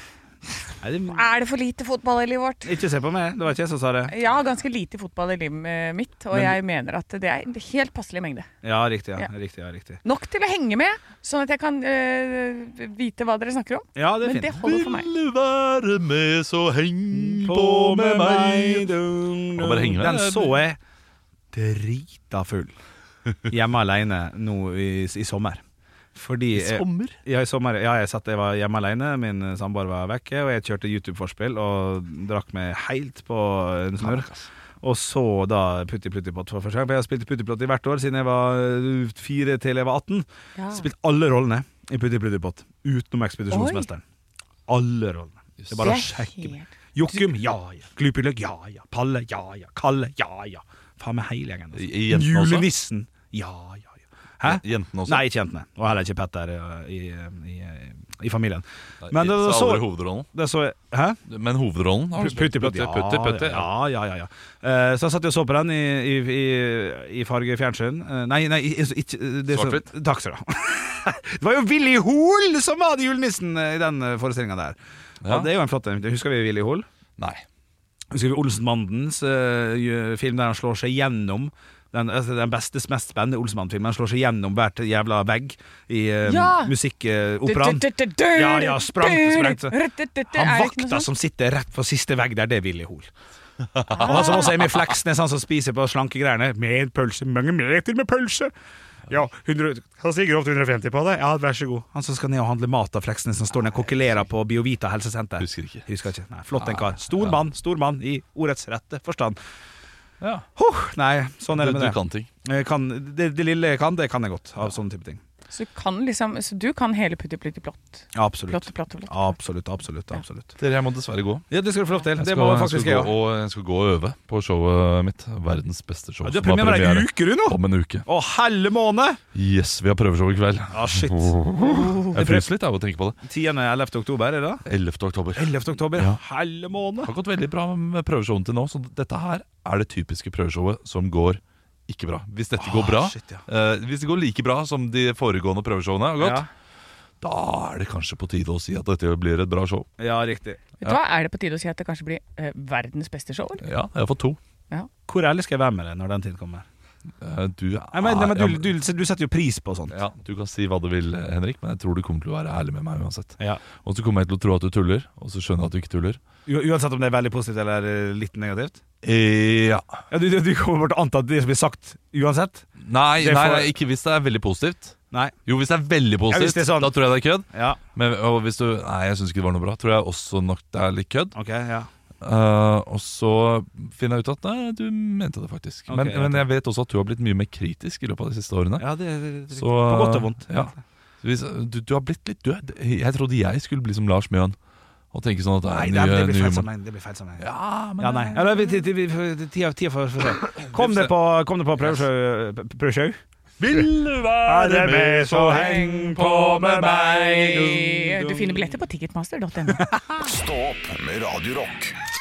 [SPEAKER 3] Nei, det,
[SPEAKER 4] Er det for lite fotball i livet vårt?
[SPEAKER 3] ikke se på meg, det var ikke jeg som sa det.
[SPEAKER 4] Ja, ganske lite fotball i livet eh, mitt, og jeg mener at det er en helt passelig mengde.
[SPEAKER 3] Ja, riktig. ja,
[SPEAKER 4] Ja.
[SPEAKER 3] riktig, ja, riktig.
[SPEAKER 4] Nok til å henge med, sånn at jeg kan eh, vite hva dere snakker om.
[SPEAKER 3] Ja, det er
[SPEAKER 4] Men
[SPEAKER 3] fint.
[SPEAKER 4] det holder for meg.
[SPEAKER 2] Vil du være med, så heng på med meg. Og bare henge med.
[SPEAKER 3] Den så jeg drita full hjemme alene nå i, i sommer. Fordi jeg-
[SPEAKER 2] Sommer?
[SPEAKER 3] Ja, i sommer, ja jeg, satt, jeg var hjemme alene, min samboer var vekke, og jeg kjørte YouTube-forspill og drakk meg helt på en snurr. Og så da Putti Plutti Pott for første gang, for jeg har spilt Putti Plutti hvert år siden jeg var uh, fire til jeg var 18.
[SPEAKER 4] Ja.
[SPEAKER 3] Spilt alle rollene i Putti Plutti Pott, utenom Ekspedisjonsmesteren. Alle rollene. Det er bare å sjekke meg. Jokum, ja ja. Glupiløk, ja ja. Palle, ja ja. Kalle, ja ja. Faen meg hele
[SPEAKER 2] I-
[SPEAKER 3] gjengen. Altså.
[SPEAKER 2] i jentene også?
[SPEAKER 3] Julenissen, ja ja. ja. Hæ?
[SPEAKER 2] Jentene også.
[SPEAKER 3] Nei, ikke jentene. Og heller ikke Petter eh, i, i, i familien.
[SPEAKER 2] Nei,
[SPEAKER 3] Men det,
[SPEAKER 2] så
[SPEAKER 3] så,
[SPEAKER 2] aldri hovedrollen.
[SPEAKER 3] det så Hæ?
[SPEAKER 2] Men hovedrollen har du spilt.
[SPEAKER 3] Ja,
[SPEAKER 2] Putti, putti, ja.
[SPEAKER 3] Ja, ja, ja. ja. Eh, så jeg satt jo og så på den i, i, i, i farge fjernsyn. Eh, nei, nei, i- i- ikke eh, det som-
[SPEAKER 2] Svart-hvitt?
[SPEAKER 3] Takk skal du ha. det var jo Willy Hoel som var julenissen eh, i den forestillinga der.
[SPEAKER 2] Ja.
[SPEAKER 3] Ja. det er jo en flott en. Husker vi Willy Hoel?
[SPEAKER 2] Nei.
[SPEAKER 3] Husker vi Olsenmandens eh, ju- film der han slår seg gjennom den, altså den beste, mest spennende Olsenmann-filmen. Han slår seg gjennom hvert jævla vegg i uh,
[SPEAKER 4] Ja!
[SPEAKER 3] musikkoperaen. Ja, ja, sprang, sprang, så- Han vakta som sitter rett på siste vegg der, det er Willy Hoel. Og han som også er med i Fleksnes, han som spiser på slanke greiene. Med pølse, mange meter med pølse! Ja, 100, kan si grovt 150 på det. Ja, vær så god. Han som skal ned og handle mat av Fleksnes, som står ned og kokkelerer på Biovita helsesenter.
[SPEAKER 2] Husker ikke.
[SPEAKER 3] Husker ikke. Nei, flott en kar. Stor mann, stor mann i ordets rette forstand.
[SPEAKER 2] Ja.
[SPEAKER 3] Huh, nei, sånn er
[SPEAKER 2] Du, du
[SPEAKER 3] det med det. Eh,
[SPEAKER 2] kan ting.
[SPEAKER 3] Jeg Kan, det. Det lille jeg kan, det kan jeg godt, av sånne type ting.
[SPEAKER 4] Så du kan liksom Så du kan hele Putti Plutti Plott.
[SPEAKER 3] Absolutt.
[SPEAKER 4] Plott, plott, plott.
[SPEAKER 3] Absolutt, absolutt. absolutt
[SPEAKER 2] Dere, jeg må dessverre gå.
[SPEAKER 3] Ja, Det skal du få lov til.
[SPEAKER 2] Jeg
[SPEAKER 3] Det
[SPEAKER 2] skal,
[SPEAKER 3] må
[SPEAKER 2] jeg
[SPEAKER 3] faktisk
[SPEAKER 2] skal
[SPEAKER 3] jeg
[SPEAKER 2] gå,
[SPEAKER 3] òg.
[SPEAKER 2] og jeg skal gå og øve på showet mitt. Verdens beste show.
[SPEAKER 3] Ja, Du har
[SPEAKER 2] som har
[SPEAKER 3] premiere om ei uke, du, nå!
[SPEAKER 2] om en uke.
[SPEAKER 3] Å, helle måned!
[SPEAKER 2] Yes, vi har prøveshow i kveld.
[SPEAKER 3] Ah, shit.
[SPEAKER 2] Jeg fryser litt av å tenke på det.
[SPEAKER 3] 10.-11. oktober, er det det?
[SPEAKER 2] 11. oktober.
[SPEAKER 3] 11. oktober.
[SPEAKER 2] Ja.
[SPEAKER 3] Helle måned!
[SPEAKER 2] Det har gått veldig bra med prøveshowene til nå, så dette her er det typiske prøveshowet som går ikke bra. Hvis dette går bra,
[SPEAKER 3] Ah, shit, ja.
[SPEAKER 2] eh, hvis det går like bra som de foregående prøveshowene har gått,
[SPEAKER 3] Ja.
[SPEAKER 2] da er det kanskje på tide å si at dette blir et bra show.
[SPEAKER 3] ja, riktig.
[SPEAKER 4] Vet du hva, er det på tide å si at det kanskje blir eh, verdens beste show? eller?
[SPEAKER 2] Ja, jeg har fått to.
[SPEAKER 3] Hvor ærlig skal jeg være med deg når den tid kommer?
[SPEAKER 2] Eh, Du,
[SPEAKER 3] Jeg mener, men,
[SPEAKER 2] er-
[SPEAKER 3] du, du, du setter jo pris på sånt.
[SPEAKER 2] ja, du kan si hva du vil, Henrik, men jeg tror du kommer til å være ærlig med meg uansett.
[SPEAKER 3] Ja.
[SPEAKER 2] Og så kommer jeg til å tro at du tuller, og så skjønner jeg at du ikke tuller.
[SPEAKER 3] U uansett om det er veldig positivt eller eh, litt negativt?
[SPEAKER 2] Eh, Ja.
[SPEAKER 3] Ja, du, du, du kommer bare til å anta at det som blir sagt, uansett?
[SPEAKER 2] Nei,
[SPEAKER 3] Det
[SPEAKER 2] nei,
[SPEAKER 3] får-
[SPEAKER 2] nei, ikke hvis det er veldig positivt.
[SPEAKER 3] Nei.
[SPEAKER 2] Jo, hvis det er veldig
[SPEAKER 3] Ja, hvis
[SPEAKER 2] positivt,
[SPEAKER 3] det er sånn.
[SPEAKER 2] da tror jeg det er kødd.
[SPEAKER 3] Ja,
[SPEAKER 2] Men og hvis du Nei, jeg syns ikke det var noe bra. Tror jeg også nok det er litt kødd.
[SPEAKER 3] ok, ja.
[SPEAKER 2] Eh, og så finner jeg ut at nei, du mente det faktisk.
[SPEAKER 3] Ok,
[SPEAKER 2] men,
[SPEAKER 3] ja,
[SPEAKER 2] men jeg vet også at du har blitt mye mer kritisk i løpet av de siste årene.
[SPEAKER 3] ja det, det, det,
[SPEAKER 2] Så,
[SPEAKER 3] på godt og vondt.
[SPEAKER 2] ja. Så hvis, du, du har blitt litt død. Jeg trodde jeg skulle bli som Lars Mjøen og tenke sånn at
[SPEAKER 3] Nei,
[SPEAKER 2] det
[SPEAKER 3] det,
[SPEAKER 2] er nye,
[SPEAKER 3] det blir
[SPEAKER 2] nye
[SPEAKER 3] feil
[SPEAKER 2] humor.
[SPEAKER 3] sammenheng. Det blir feil sammenheng. Ja.
[SPEAKER 2] Ja, men eh,
[SPEAKER 3] nei. Ja, det, det, det, det, det, tida tida får får se. Kom deg på, kom deg på prøvesjau. eh, prøvesjau.
[SPEAKER 2] Vil du være med, så heng på med meg.
[SPEAKER 4] Du finner billetter på ticketmaster.no.
[SPEAKER 1] Stå opp med Radio Rock.